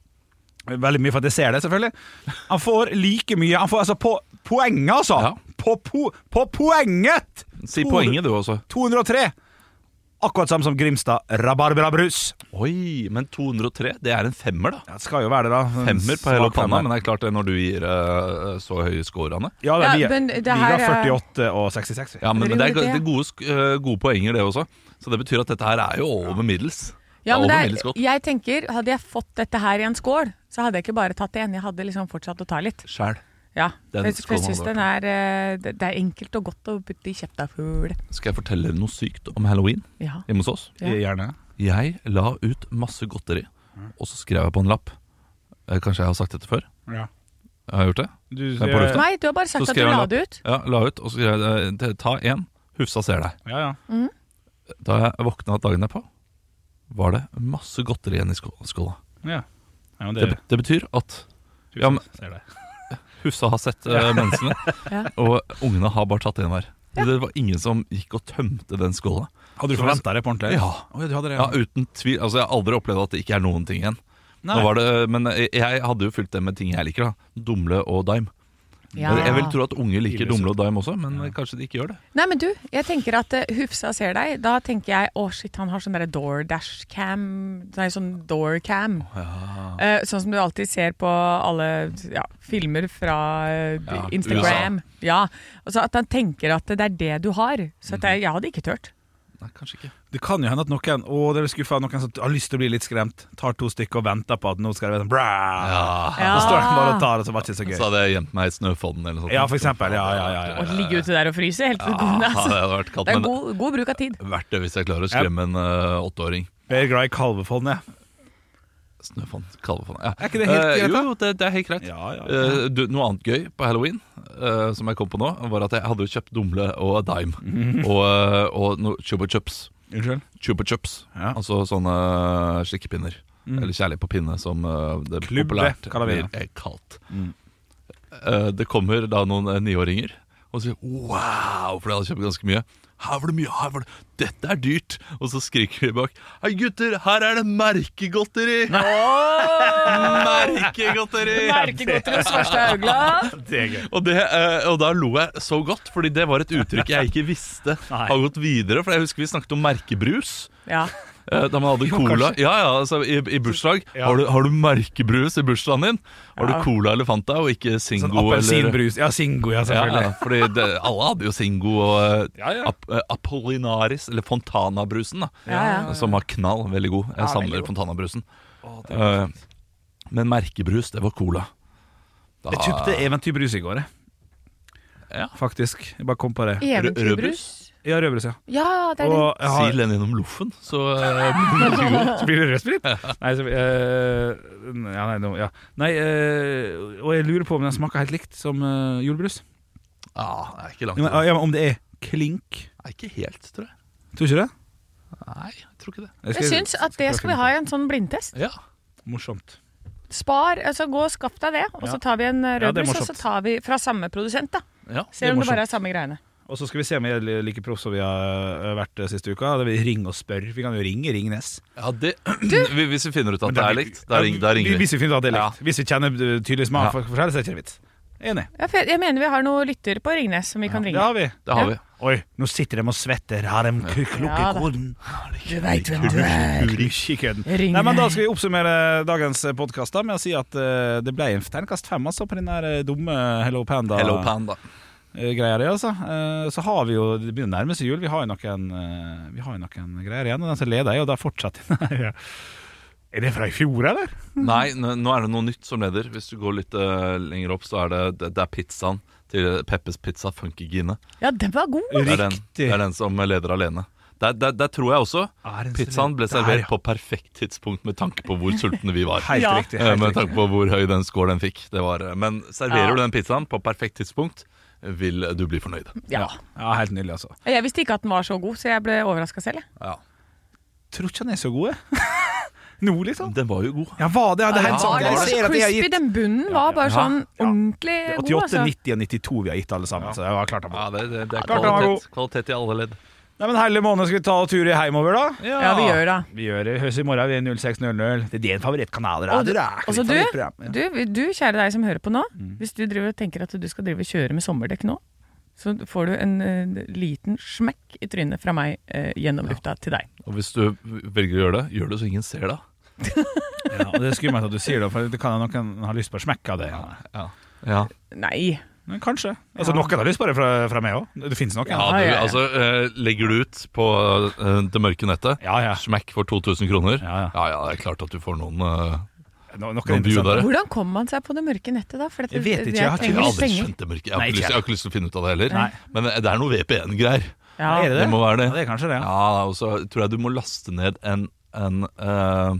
Speaker 2: Veldig mye for at jeg ser det, selvfølgelig. Han får like mye Han får altså på poenget, altså!
Speaker 4: Ja.
Speaker 2: På, po, på poenget!
Speaker 4: Si
Speaker 2: To-
Speaker 4: poenget, du altså. også.
Speaker 2: 203. Akkurat samme som Grimstad rabarbrabrus.
Speaker 4: Oi, men 203, det er en femmer, da.
Speaker 2: Ja, det skal jo være det, da. En
Speaker 4: Femmer på hele
Speaker 2: svak
Speaker 4: panna,
Speaker 2: femmer.
Speaker 4: men det er klart det når du gir eh, så høye score, Anne.
Speaker 2: Ja, da,
Speaker 3: Ja,
Speaker 2: vi,
Speaker 3: men det
Speaker 2: vi
Speaker 3: her
Speaker 2: ga
Speaker 3: er-
Speaker 2: 48 og 66. vi.
Speaker 4: Ja, men, men det er,
Speaker 3: Det er
Speaker 4: det er gode, sk- eh, gode poenger, det også. Så det betyr at dette her er jo over middels.
Speaker 3: Ja, men
Speaker 4: det er over
Speaker 3: det
Speaker 4: middels
Speaker 3: er,
Speaker 4: godt.
Speaker 3: jeg tenker, hadde jeg fått dette her i en skål, så hadde jeg ikke bare tatt det ene, jeg hadde liksom fortsatt å ta litt.
Speaker 4: Sjæl.
Speaker 3: Ja,
Speaker 4: Den
Speaker 3: for jeg, for jeg
Speaker 4: skålen
Speaker 3: synes
Speaker 4: hadde
Speaker 3: den er, eh, det det er enkelt og godt å putte i kjefta fugl.
Speaker 4: Skal jeg fortelle dere noe sykt om halloween
Speaker 3: Ja.
Speaker 4: hjemme hos oss?
Speaker 3: Ja.
Speaker 2: Gjerne.
Speaker 4: Jeg la ut masse godteri, og så skrev jeg på en lapp. Eh, Kanskje jeg har sagt dette før?
Speaker 2: Ja.
Speaker 4: Jeg har gjort det?
Speaker 2: Du,
Speaker 4: er på lufta.
Speaker 3: Nei, du har bare
Speaker 4: Så
Speaker 3: sagt at
Speaker 4: skrev jeg
Speaker 3: du
Speaker 4: en
Speaker 3: la
Speaker 4: lapp.
Speaker 3: det ut.
Speaker 4: Ja, la ut, og så skrev jeg eh, ta én, Hufsa ser deg.
Speaker 2: ja, ja.
Speaker 4: Da jeg våkna dagen derpå, var det masse godteri igjen i skå- skåla.
Speaker 2: ja. ja men
Speaker 4: Det, det betyr at ja, men-
Speaker 2: ser det.
Speaker 4: Hufsa har sett eh, menneskene,
Speaker 3: Ja.
Speaker 4: og ungene har bare tatt én hver. Det var ingen som gikk og tømte den skåla.
Speaker 2: Hadde du forventa det på ordentlig?
Speaker 4: Ja.
Speaker 2: Å, ja, du hadde det,
Speaker 4: Ja,
Speaker 2: ja.
Speaker 4: uten tvil. Altså, jeg har aldri opplevd at det ikke er noen ting igjen.
Speaker 2: Nei.
Speaker 4: Nå var det, men jeg, jeg hadde jo fylt det med ting jeg liker. da Dumle og dime.
Speaker 3: Ja.
Speaker 4: Jeg vil tro at unge liker dumle og dime også, men kanskje de ikke gjør det.
Speaker 3: Nei, men du, jeg tenker at eh, Hufsa ser deg. Da tenker jeg å shit, han har sånn derre DoorDash-cam. Nei, sånn doorcam. Eh, sånn som du alltid ser på alle ja, filmer fra eh, altså,
Speaker 4: Ja,
Speaker 3: Instagram. Ja, og så At han tenker at det er det du har. Så at jeg, jeg hadde ikke turt.
Speaker 4: Nei, kanskje ikke.
Speaker 2: Det kan jo hende at noen å, det er skuffa, noen som har lyst til å bli litt skremt, tar to stykker og venter på at nå skal det være sånn bra.
Speaker 3: Ja.
Speaker 2: Så står de bare og tar det, så var det ikke så
Speaker 4: Så
Speaker 2: gøy.
Speaker 4: hadde jeg gjemt meg i snøfodden eller noe sånt.
Speaker 2: Ja, for eksempel. Ja, ja, ja, ja.
Speaker 3: Å ligge ute der og fryse helt til
Speaker 4: Ja,
Speaker 3: kone,
Speaker 4: det
Speaker 3: altså.
Speaker 4: hadde vært kaldt,
Speaker 3: Det er
Speaker 4: men
Speaker 3: god, god bruk av tid.
Speaker 4: verdt det hvis jeg klarer å skremme en eh, åtteåring.
Speaker 2: Jeg er glad i kalvefond, jeg.
Speaker 4: Snøfond, kalvefond. Ja.
Speaker 2: Er ikke det helt
Speaker 4: Eh,
Speaker 2: greit, da?
Speaker 4: Jo, det, det er helt greit.
Speaker 2: Ja, ja,
Speaker 4: Eh, du, noe annet gøy på halloween, eh, som jeg kom på nå, var at jeg hadde jo kjøpt Dumle og Dime
Speaker 2: Mm.
Speaker 4: og, uh, og noe Chupa Chups.
Speaker 2: Unnskyld?
Speaker 4: Chupa Chups,
Speaker 2: Ja.
Speaker 4: altså sånne slikkepinner. Eller kjærlighet på pinne, som eh, det
Speaker 2: Klubbe,
Speaker 4: populært
Speaker 2: kaller vi
Speaker 4: blir
Speaker 2: det. Mm.
Speaker 4: eh, kalt. Eh, det kommer da noen eh, niåringer og sier 'wow', for de hadde kjøpt ganske mye. Her var det mye, her var det Dette er dyrt! Og så skriker de bak 'Hei, gutter, her er det merkegodteri'! merkegodteri!
Speaker 3: Merkegodteri hos Svarstad Haugland.
Speaker 2: Det er gøy.
Speaker 4: Og, det, eh, og da lo jeg så godt, fordi det var et uttrykk jeg ikke visste
Speaker 2: Nei.
Speaker 4: har gått videre. For jeg husker vi snakket om merkebrus.
Speaker 3: Ja.
Speaker 4: Eh, Da man hadde cola Ja, ja, altså i, i bursdag har, du, har du merkebrus i bursdagen din? Har du cola eller Fanta og ikke Singo
Speaker 2: Sånn
Speaker 4: eller
Speaker 2: appelsinbrus. Ja, Singo, ja,
Speaker 4: ja,
Speaker 2: selvfølgelig.
Speaker 4: ja, fordi det, alle hadde jo Singo og eh,
Speaker 2: Ja, ja.
Speaker 4: Ap eh, Apollinaris, eller Fontana-brusen, da.
Speaker 3: Ja, ja.
Speaker 4: Som var knall. Veldig god. Jeg
Speaker 3: Ja, veldig
Speaker 4: savner
Speaker 3: god.
Speaker 4: Fontana-brusen. Eh, men merkebrus, det var cola. Da,
Speaker 2: Jeg kjøpte eventyrbrus i går, jeg.
Speaker 4: Ja.
Speaker 2: Faktisk. Jeg bare kom på det.
Speaker 3: Eventyrbrus.
Speaker 2: Ja, rødbrus, ja.
Speaker 3: Ja, det er det.
Speaker 2: Og jeg har
Speaker 4: Sil den gjennom loffen, så eh,
Speaker 2: Så blir det rødsprit? Nei, så, eh, ja, nei, nå- ja. nei eh, Og jeg lurer på om den smaker helt likt som eh, julebrus.
Speaker 4: ah, Det er ikke langt.
Speaker 2: Ja, men-
Speaker 4: unna.
Speaker 2: ja, men om det er klink.
Speaker 4: Nei, ikke helt, tror jeg.
Speaker 2: Tror du ikke det?
Speaker 4: Nei, jeg tror ikke det.
Speaker 2: skal-
Speaker 3: Jeg syns at det skal vi ha i en sånn blindtest.
Speaker 4: Ja,
Speaker 2: Morsomt.
Speaker 3: Spar, altså Gå og skaff deg det, og så tar vi en eh,
Speaker 2: Ja, det er
Speaker 3: rødbrus, og så
Speaker 2: morsomt.
Speaker 3: tar vi fra samme produsent. da
Speaker 4: ja.
Speaker 3: Ser om det bare er samme greiene.
Speaker 2: Og så skal vi se om vi er li- like proff som vi har eh, vært eh, siste uka. Da vil vi ringe og spørre. Vi kan jo ringe Ringnes.
Speaker 4: Ja, det, vi, hvis vi finner ut at det er likt, da,
Speaker 2: Ja,
Speaker 4: ring, da ringer
Speaker 2: Hvis
Speaker 4: vi.
Speaker 2: vi finner ut at det er
Speaker 4: Ja.
Speaker 2: likt. Hvis vi kjenner eh, tydelig
Speaker 4: Ja.
Speaker 2: smak for forskjellig, så er det ikke vits. Enig.
Speaker 3: Ja, for Jeg jeg mener vi har noen lytter på Ringnes som vi kan
Speaker 2: Det
Speaker 3: ringe.
Speaker 2: har vi.
Speaker 4: Det har vi.
Speaker 2: Oi, nå sitter de og svetter. Har de k-
Speaker 3: Ja da.
Speaker 2: klokkekoden?
Speaker 3: Du veit hvem du er.
Speaker 2: Ikke kødden.
Speaker 3: Ring
Speaker 2: Nei, men Da
Speaker 3: meg.
Speaker 2: skal vi oppsummere dagens podkast da, med å si at eh, det ble en terningkast fem altså, på den der eh, dumme Hello
Speaker 4: Hello
Speaker 2: Panda-greia
Speaker 4: Panda.
Speaker 2: di. Altså. Eh, så har vi jo Det begynner å nærme seg jul. Vi har jo noen, eh, vi har jo noen greier igjen. Og den som leder, er jo da fortsatt eh, Er det fra i fjor, eller?
Speaker 4: Nei, n- nå er det noe nytt som leder. Hvis du går litt eh, lenger opp, så er det, det, det er pizzaen til Peppes Pizza Funkygine.
Speaker 3: Ja, den var god.
Speaker 4: Det er, den, det
Speaker 2: Riktig.
Speaker 4: er den som leder alene. Der, der, der tror jeg også
Speaker 2: Er den
Speaker 4: pizzaen ble
Speaker 2: servert-
Speaker 4: servert
Speaker 2: Der, ja.
Speaker 4: på perfekt tidspunkt med tanke på hvor sultne vi var.
Speaker 2: Helt
Speaker 3: Ja.
Speaker 2: riktig.
Speaker 4: Eh,
Speaker 2: Helt
Speaker 4: Med
Speaker 2: riktig.
Speaker 4: tanke på hvor høy den skål den fikk. Det var, eh, men serverer
Speaker 3: Ja.
Speaker 4: du den pizzaen på perfekt tidspunkt, vil du bli fornøyd.
Speaker 3: Ja.
Speaker 2: Ja, helt nydelig, altså.
Speaker 3: Jeg visste ikke at den var så god, så jeg ble overraska selv. jeg.
Speaker 4: Ja.
Speaker 2: Tror ikke han er så god, jeg. Nå, liksom.
Speaker 4: Den var jo god.
Speaker 2: Ja, var det? Ja, det er helt
Speaker 4: Ja,
Speaker 2: sant. Jeg
Speaker 3: Den var så
Speaker 2: ser at jeg har
Speaker 3: crispy.
Speaker 2: gitt
Speaker 3: Den bunnen var bare
Speaker 4: Ja.
Speaker 3: sånn
Speaker 2: Ja.
Speaker 3: ordentlig god.
Speaker 2: 88,
Speaker 3: altså.
Speaker 2: 90 og 92 vi har gitt, alle sammen. Så det var klart han var
Speaker 4: Ja, det, det, det er
Speaker 2: klart den var
Speaker 4: kvalitet, kvalitet i alle ledd.
Speaker 2: Nei, men Herlig måned, skal vi ta tur i heimover, da?
Speaker 3: Ja, vi gjør det.
Speaker 2: Vi gjør det. Høres i morgen ved 06.00. Det er din favorittkanal. det er.
Speaker 3: Og du-
Speaker 2: Det er
Speaker 3: og så
Speaker 2: ditt
Speaker 3: du,
Speaker 2: favorittprogram, ja. Mm.
Speaker 3: du, du, kjære deg som hører på nå, hvis du driver og tenker at du skal drive og kjøre med sommerdekk nå, så får du en eh, liten smekk i trynet fra meg eh, gjennom lufta til deg.
Speaker 4: Og hvis du velger å gjøre det, gjør det så ingen ser det.
Speaker 2: Ja, og det er skummelt at du sier det, for det kan hende noen har lyst på å smekke av det.
Speaker 4: Ja,
Speaker 3: Nei.
Speaker 2: Men kanskje. Altså, Noen har lyst på det fra, fra meg òg. Det finnes noen.
Speaker 4: ja
Speaker 3: Ja,
Speaker 4: du,
Speaker 3: ja, ja.
Speaker 4: altså eh, Legger du ut på eh, det mørke nettet,
Speaker 2: Ja, ja.
Speaker 4: smekk for 2000 kroner,
Speaker 2: Ja, ja.
Speaker 4: ja ja, det er klart at du får noen eh,
Speaker 2: No, noen
Speaker 4: Noen
Speaker 2: interessante.
Speaker 4: bjudere.
Speaker 3: Hvordan kom man seg på det mørke nettet, da? For dette-
Speaker 2: Jeg vet ikke, jeg har ikke-
Speaker 4: Jeg har
Speaker 3: trenger litt
Speaker 4: aldri
Speaker 3: penger.
Speaker 4: skjønt det mørke. Jeg har,
Speaker 2: Nei,
Speaker 4: ikke lyst, jeg har ikke lyst til å finne ut av det heller.
Speaker 2: Nei.
Speaker 4: Men eh, det er noe VPN-greier.
Speaker 3: Ja.
Speaker 2: Er det
Speaker 4: Det
Speaker 2: det?
Speaker 4: må være det.
Speaker 2: Ja, det er kanskje det. Ja.
Speaker 4: Ja, og så tror jeg du må laste ned en, en eh,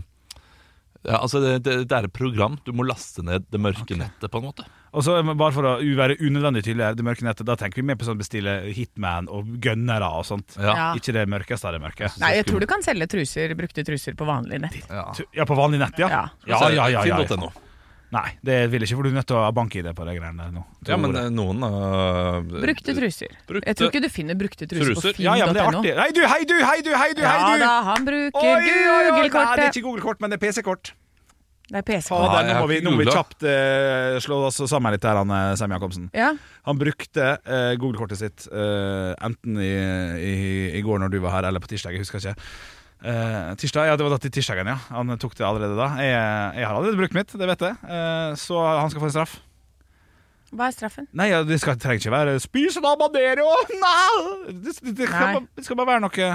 Speaker 4: ja, altså det, det, det er et program. Du må laste ned det mørke nettet, på en måte.
Speaker 2: Og så men Bare for å u- være unødvendig tydelig, her, det mørke nettet, da tenker vi mer på sånn bestille hitman og gønnere og sånt.
Speaker 3: Ja.
Speaker 2: Ikke det mørkeste av det mørke.
Speaker 3: Nei, jeg tror du kan selge truser, brukte truser på vanlig nett.
Speaker 4: Ja.
Speaker 2: Ja, på vanlig nett, ja.
Speaker 3: Ja.
Speaker 2: ja, ja, ja, ja, ja.
Speaker 4: Finn.no.
Speaker 2: Nei, det vil jeg ikke, for du er nødt til å ha bank-ID på de greiene der nå.
Speaker 4: Ja, men eh, noen eh,
Speaker 3: Brukte truser.
Speaker 4: Brukte-
Speaker 3: Jeg tror ikke du finner brukte truser,
Speaker 4: Truser?
Speaker 3: på
Speaker 2: ja, ja, men det er
Speaker 3: finn.no.
Speaker 2: artig. Hei du, hei du, hei du, hei du!
Speaker 3: Ja
Speaker 2: hei du.
Speaker 3: da, han bruker
Speaker 2: Nei, det er
Speaker 3: Google-kortet.
Speaker 2: ikke Google-kort, men det er PC-kort.
Speaker 3: Det er PC.
Speaker 2: Fader,
Speaker 4: Nei, jeg
Speaker 2: nå
Speaker 4: har
Speaker 2: må vi,
Speaker 4: ikke
Speaker 2: nå må vi
Speaker 4: googlet.
Speaker 2: kjapt eh, slå oss sammen litt her, han eh, Sem Jacobsen.
Speaker 3: Ja.
Speaker 2: Han brukte eh, Google-kortet sitt eh, enten i, i, i går når du var her, eller på tirsdag, jeg husker ikke. Eh, tirsdag, ja, Det var da til tirsdagen, ja. Han eh, tok det allerede da. Jeg, eh, jeg har allerede brukt mitt, det vet jeg. Eh, så han skal få en straff.
Speaker 3: Hva er straffen?
Speaker 2: Nei, ja, det skal, trenger ikke være 'spis en habanero'! Nei! Det, det, det, skal,
Speaker 3: Nei.
Speaker 2: bare- det skal bare være noe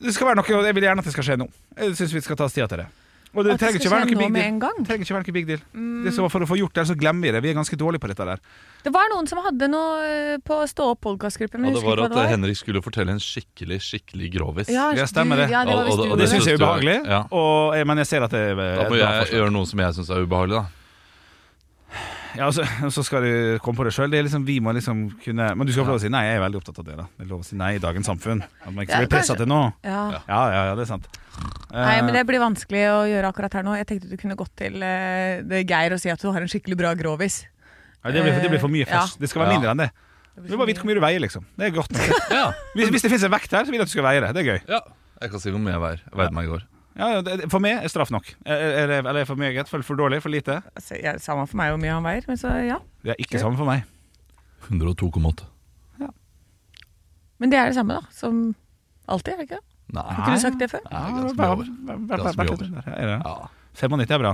Speaker 2: Det skal være noe, og Jeg vil gjerne at det skal skje nå. Jeg syns vi skal ta oss tida til det. Og det
Speaker 3: At det
Speaker 2: trenger
Speaker 3: skal
Speaker 2: ikke være
Speaker 3: skje
Speaker 2: noe
Speaker 3: nå
Speaker 2: big
Speaker 3: med
Speaker 2: deal.
Speaker 3: en gang? Mm.
Speaker 2: Trenger ikke være noe big deal. Det er så for å få gjort det, så glemmer vi det. Vi er ganske dårlige på dette der.
Speaker 3: Det var noen som hadde noe eh, på Stå opp-podkastgruppen, men
Speaker 4: Ja,
Speaker 3: jeg
Speaker 4: det
Speaker 3: husker
Speaker 4: var
Speaker 3: ikke
Speaker 4: at
Speaker 3: hva det var.
Speaker 4: Henrik skulle fortelle en skikkelig skikkelig grovis.
Speaker 3: Ja,
Speaker 2: eh, Ja, stemmer
Speaker 3: du-
Speaker 2: det.
Speaker 3: Ja, det
Speaker 4: Og-
Speaker 3: var
Speaker 4: og-
Speaker 3: visst
Speaker 4: og
Speaker 3: du.
Speaker 2: Og det
Speaker 4: synes
Speaker 2: syns jeg er
Speaker 4: du er-
Speaker 2: ubehagelig,
Speaker 4: ja.
Speaker 2: og, eh, men jeg ser at det er
Speaker 4: Da
Speaker 2: et
Speaker 4: må
Speaker 2: bra
Speaker 4: jeg
Speaker 2: forslag.
Speaker 4: gjøre noe som jeg syns er ubehagelig, da.
Speaker 2: Ja, og så, og så skal du komme på det sjøl. Liksom, vi må liksom kunne Men du skal få lov å si nei. Jeg er veldig opptatt av det. da Det er lov å si nei i dagens samfunn. At man ikke
Speaker 3: Ja,
Speaker 2: blir pressa
Speaker 3: kanskje.
Speaker 2: til noe. Ja,
Speaker 3: Ja.
Speaker 2: ja, ja, det er sant.
Speaker 3: Nei, men det blir vanskelig å gjøre akkurat her nå. Jeg tenkte du kunne gått til eh, det Geir og si at du har en skikkelig bra grovis.
Speaker 2: Ja, det, blir, det blir for mye
Speaker 3: Eh, Ja.
Speaker 2: først. Det skal være
Speaker 4: Ja.
Speaker 2: mindre enn det. Du må bare vite hvor mye du veier, liksom. Det er godt nok.
Speaker 4: Ja,
Speaker 2: Hvis, hvis det fins en vekt her, så vil jeg at du skal veie det. Det er gøy.
Speaker 4: ja. Jeg kan si hvor mye jeg veier. Jeg veide meg i går.
Speaker 2: Ja, ja, det- for meg er straff nok. Er- er- Eller er for meget? For, for dårlig? For lite?
Speaker 3: Altså, ja, Samme for meg hvor mye han veier, men så ja.
Speaker 2: Det er ikke samme for meg.
Speaker 4: 102,8.
Speaker 3: Men det er det samme, da. Som alltid, er det ikke? det? Har
Speaker 4: Nei,
Speaker 3: ikke du sagt det før?
Speaker 4: det er ganske mye over. Ganske mye over.
Speaker 2: Ja, er det det?
Speaker 4: Ja,
Speaker 2: 95 er bra.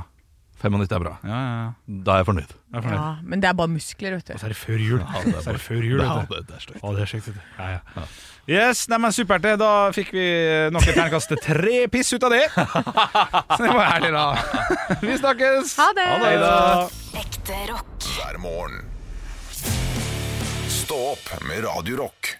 Speaker 4: 95 er bra.
Speaker 2: Ja, ja, ja.
Speaker 4: Da er jeg fornøyd.
Speaker 2: Jeg er fornøyd.
Speaker 3: Ja, men det er bare muskler, vet
Speaker 2: Så
Speaker 3: du.
Speaker 2: er det før jul.
Speaker 4: Ja,
Speaker 2: Så
Speaker 4: det er
Speaker 2: er det
Speaker 4: bare-
Speaker 2: før jul,
Speaker 4: Ja,
Speaker 2: vet du.
Speaker 4: det, det er stygt.
Speaker 2: Å, det er sjukt. vet du. Ja, ja. Yes, nei, men supert. det. Da fikk vi nok et terningkast tre piss ut av det. Så det var herlig, da. Vi snakkes!
Speaker 3: Ha det!
Speaker 2: Hei da.
Speaker 5: Ekte rock.
Speaker 1: hver morgen. Stå opp med Radio Rock.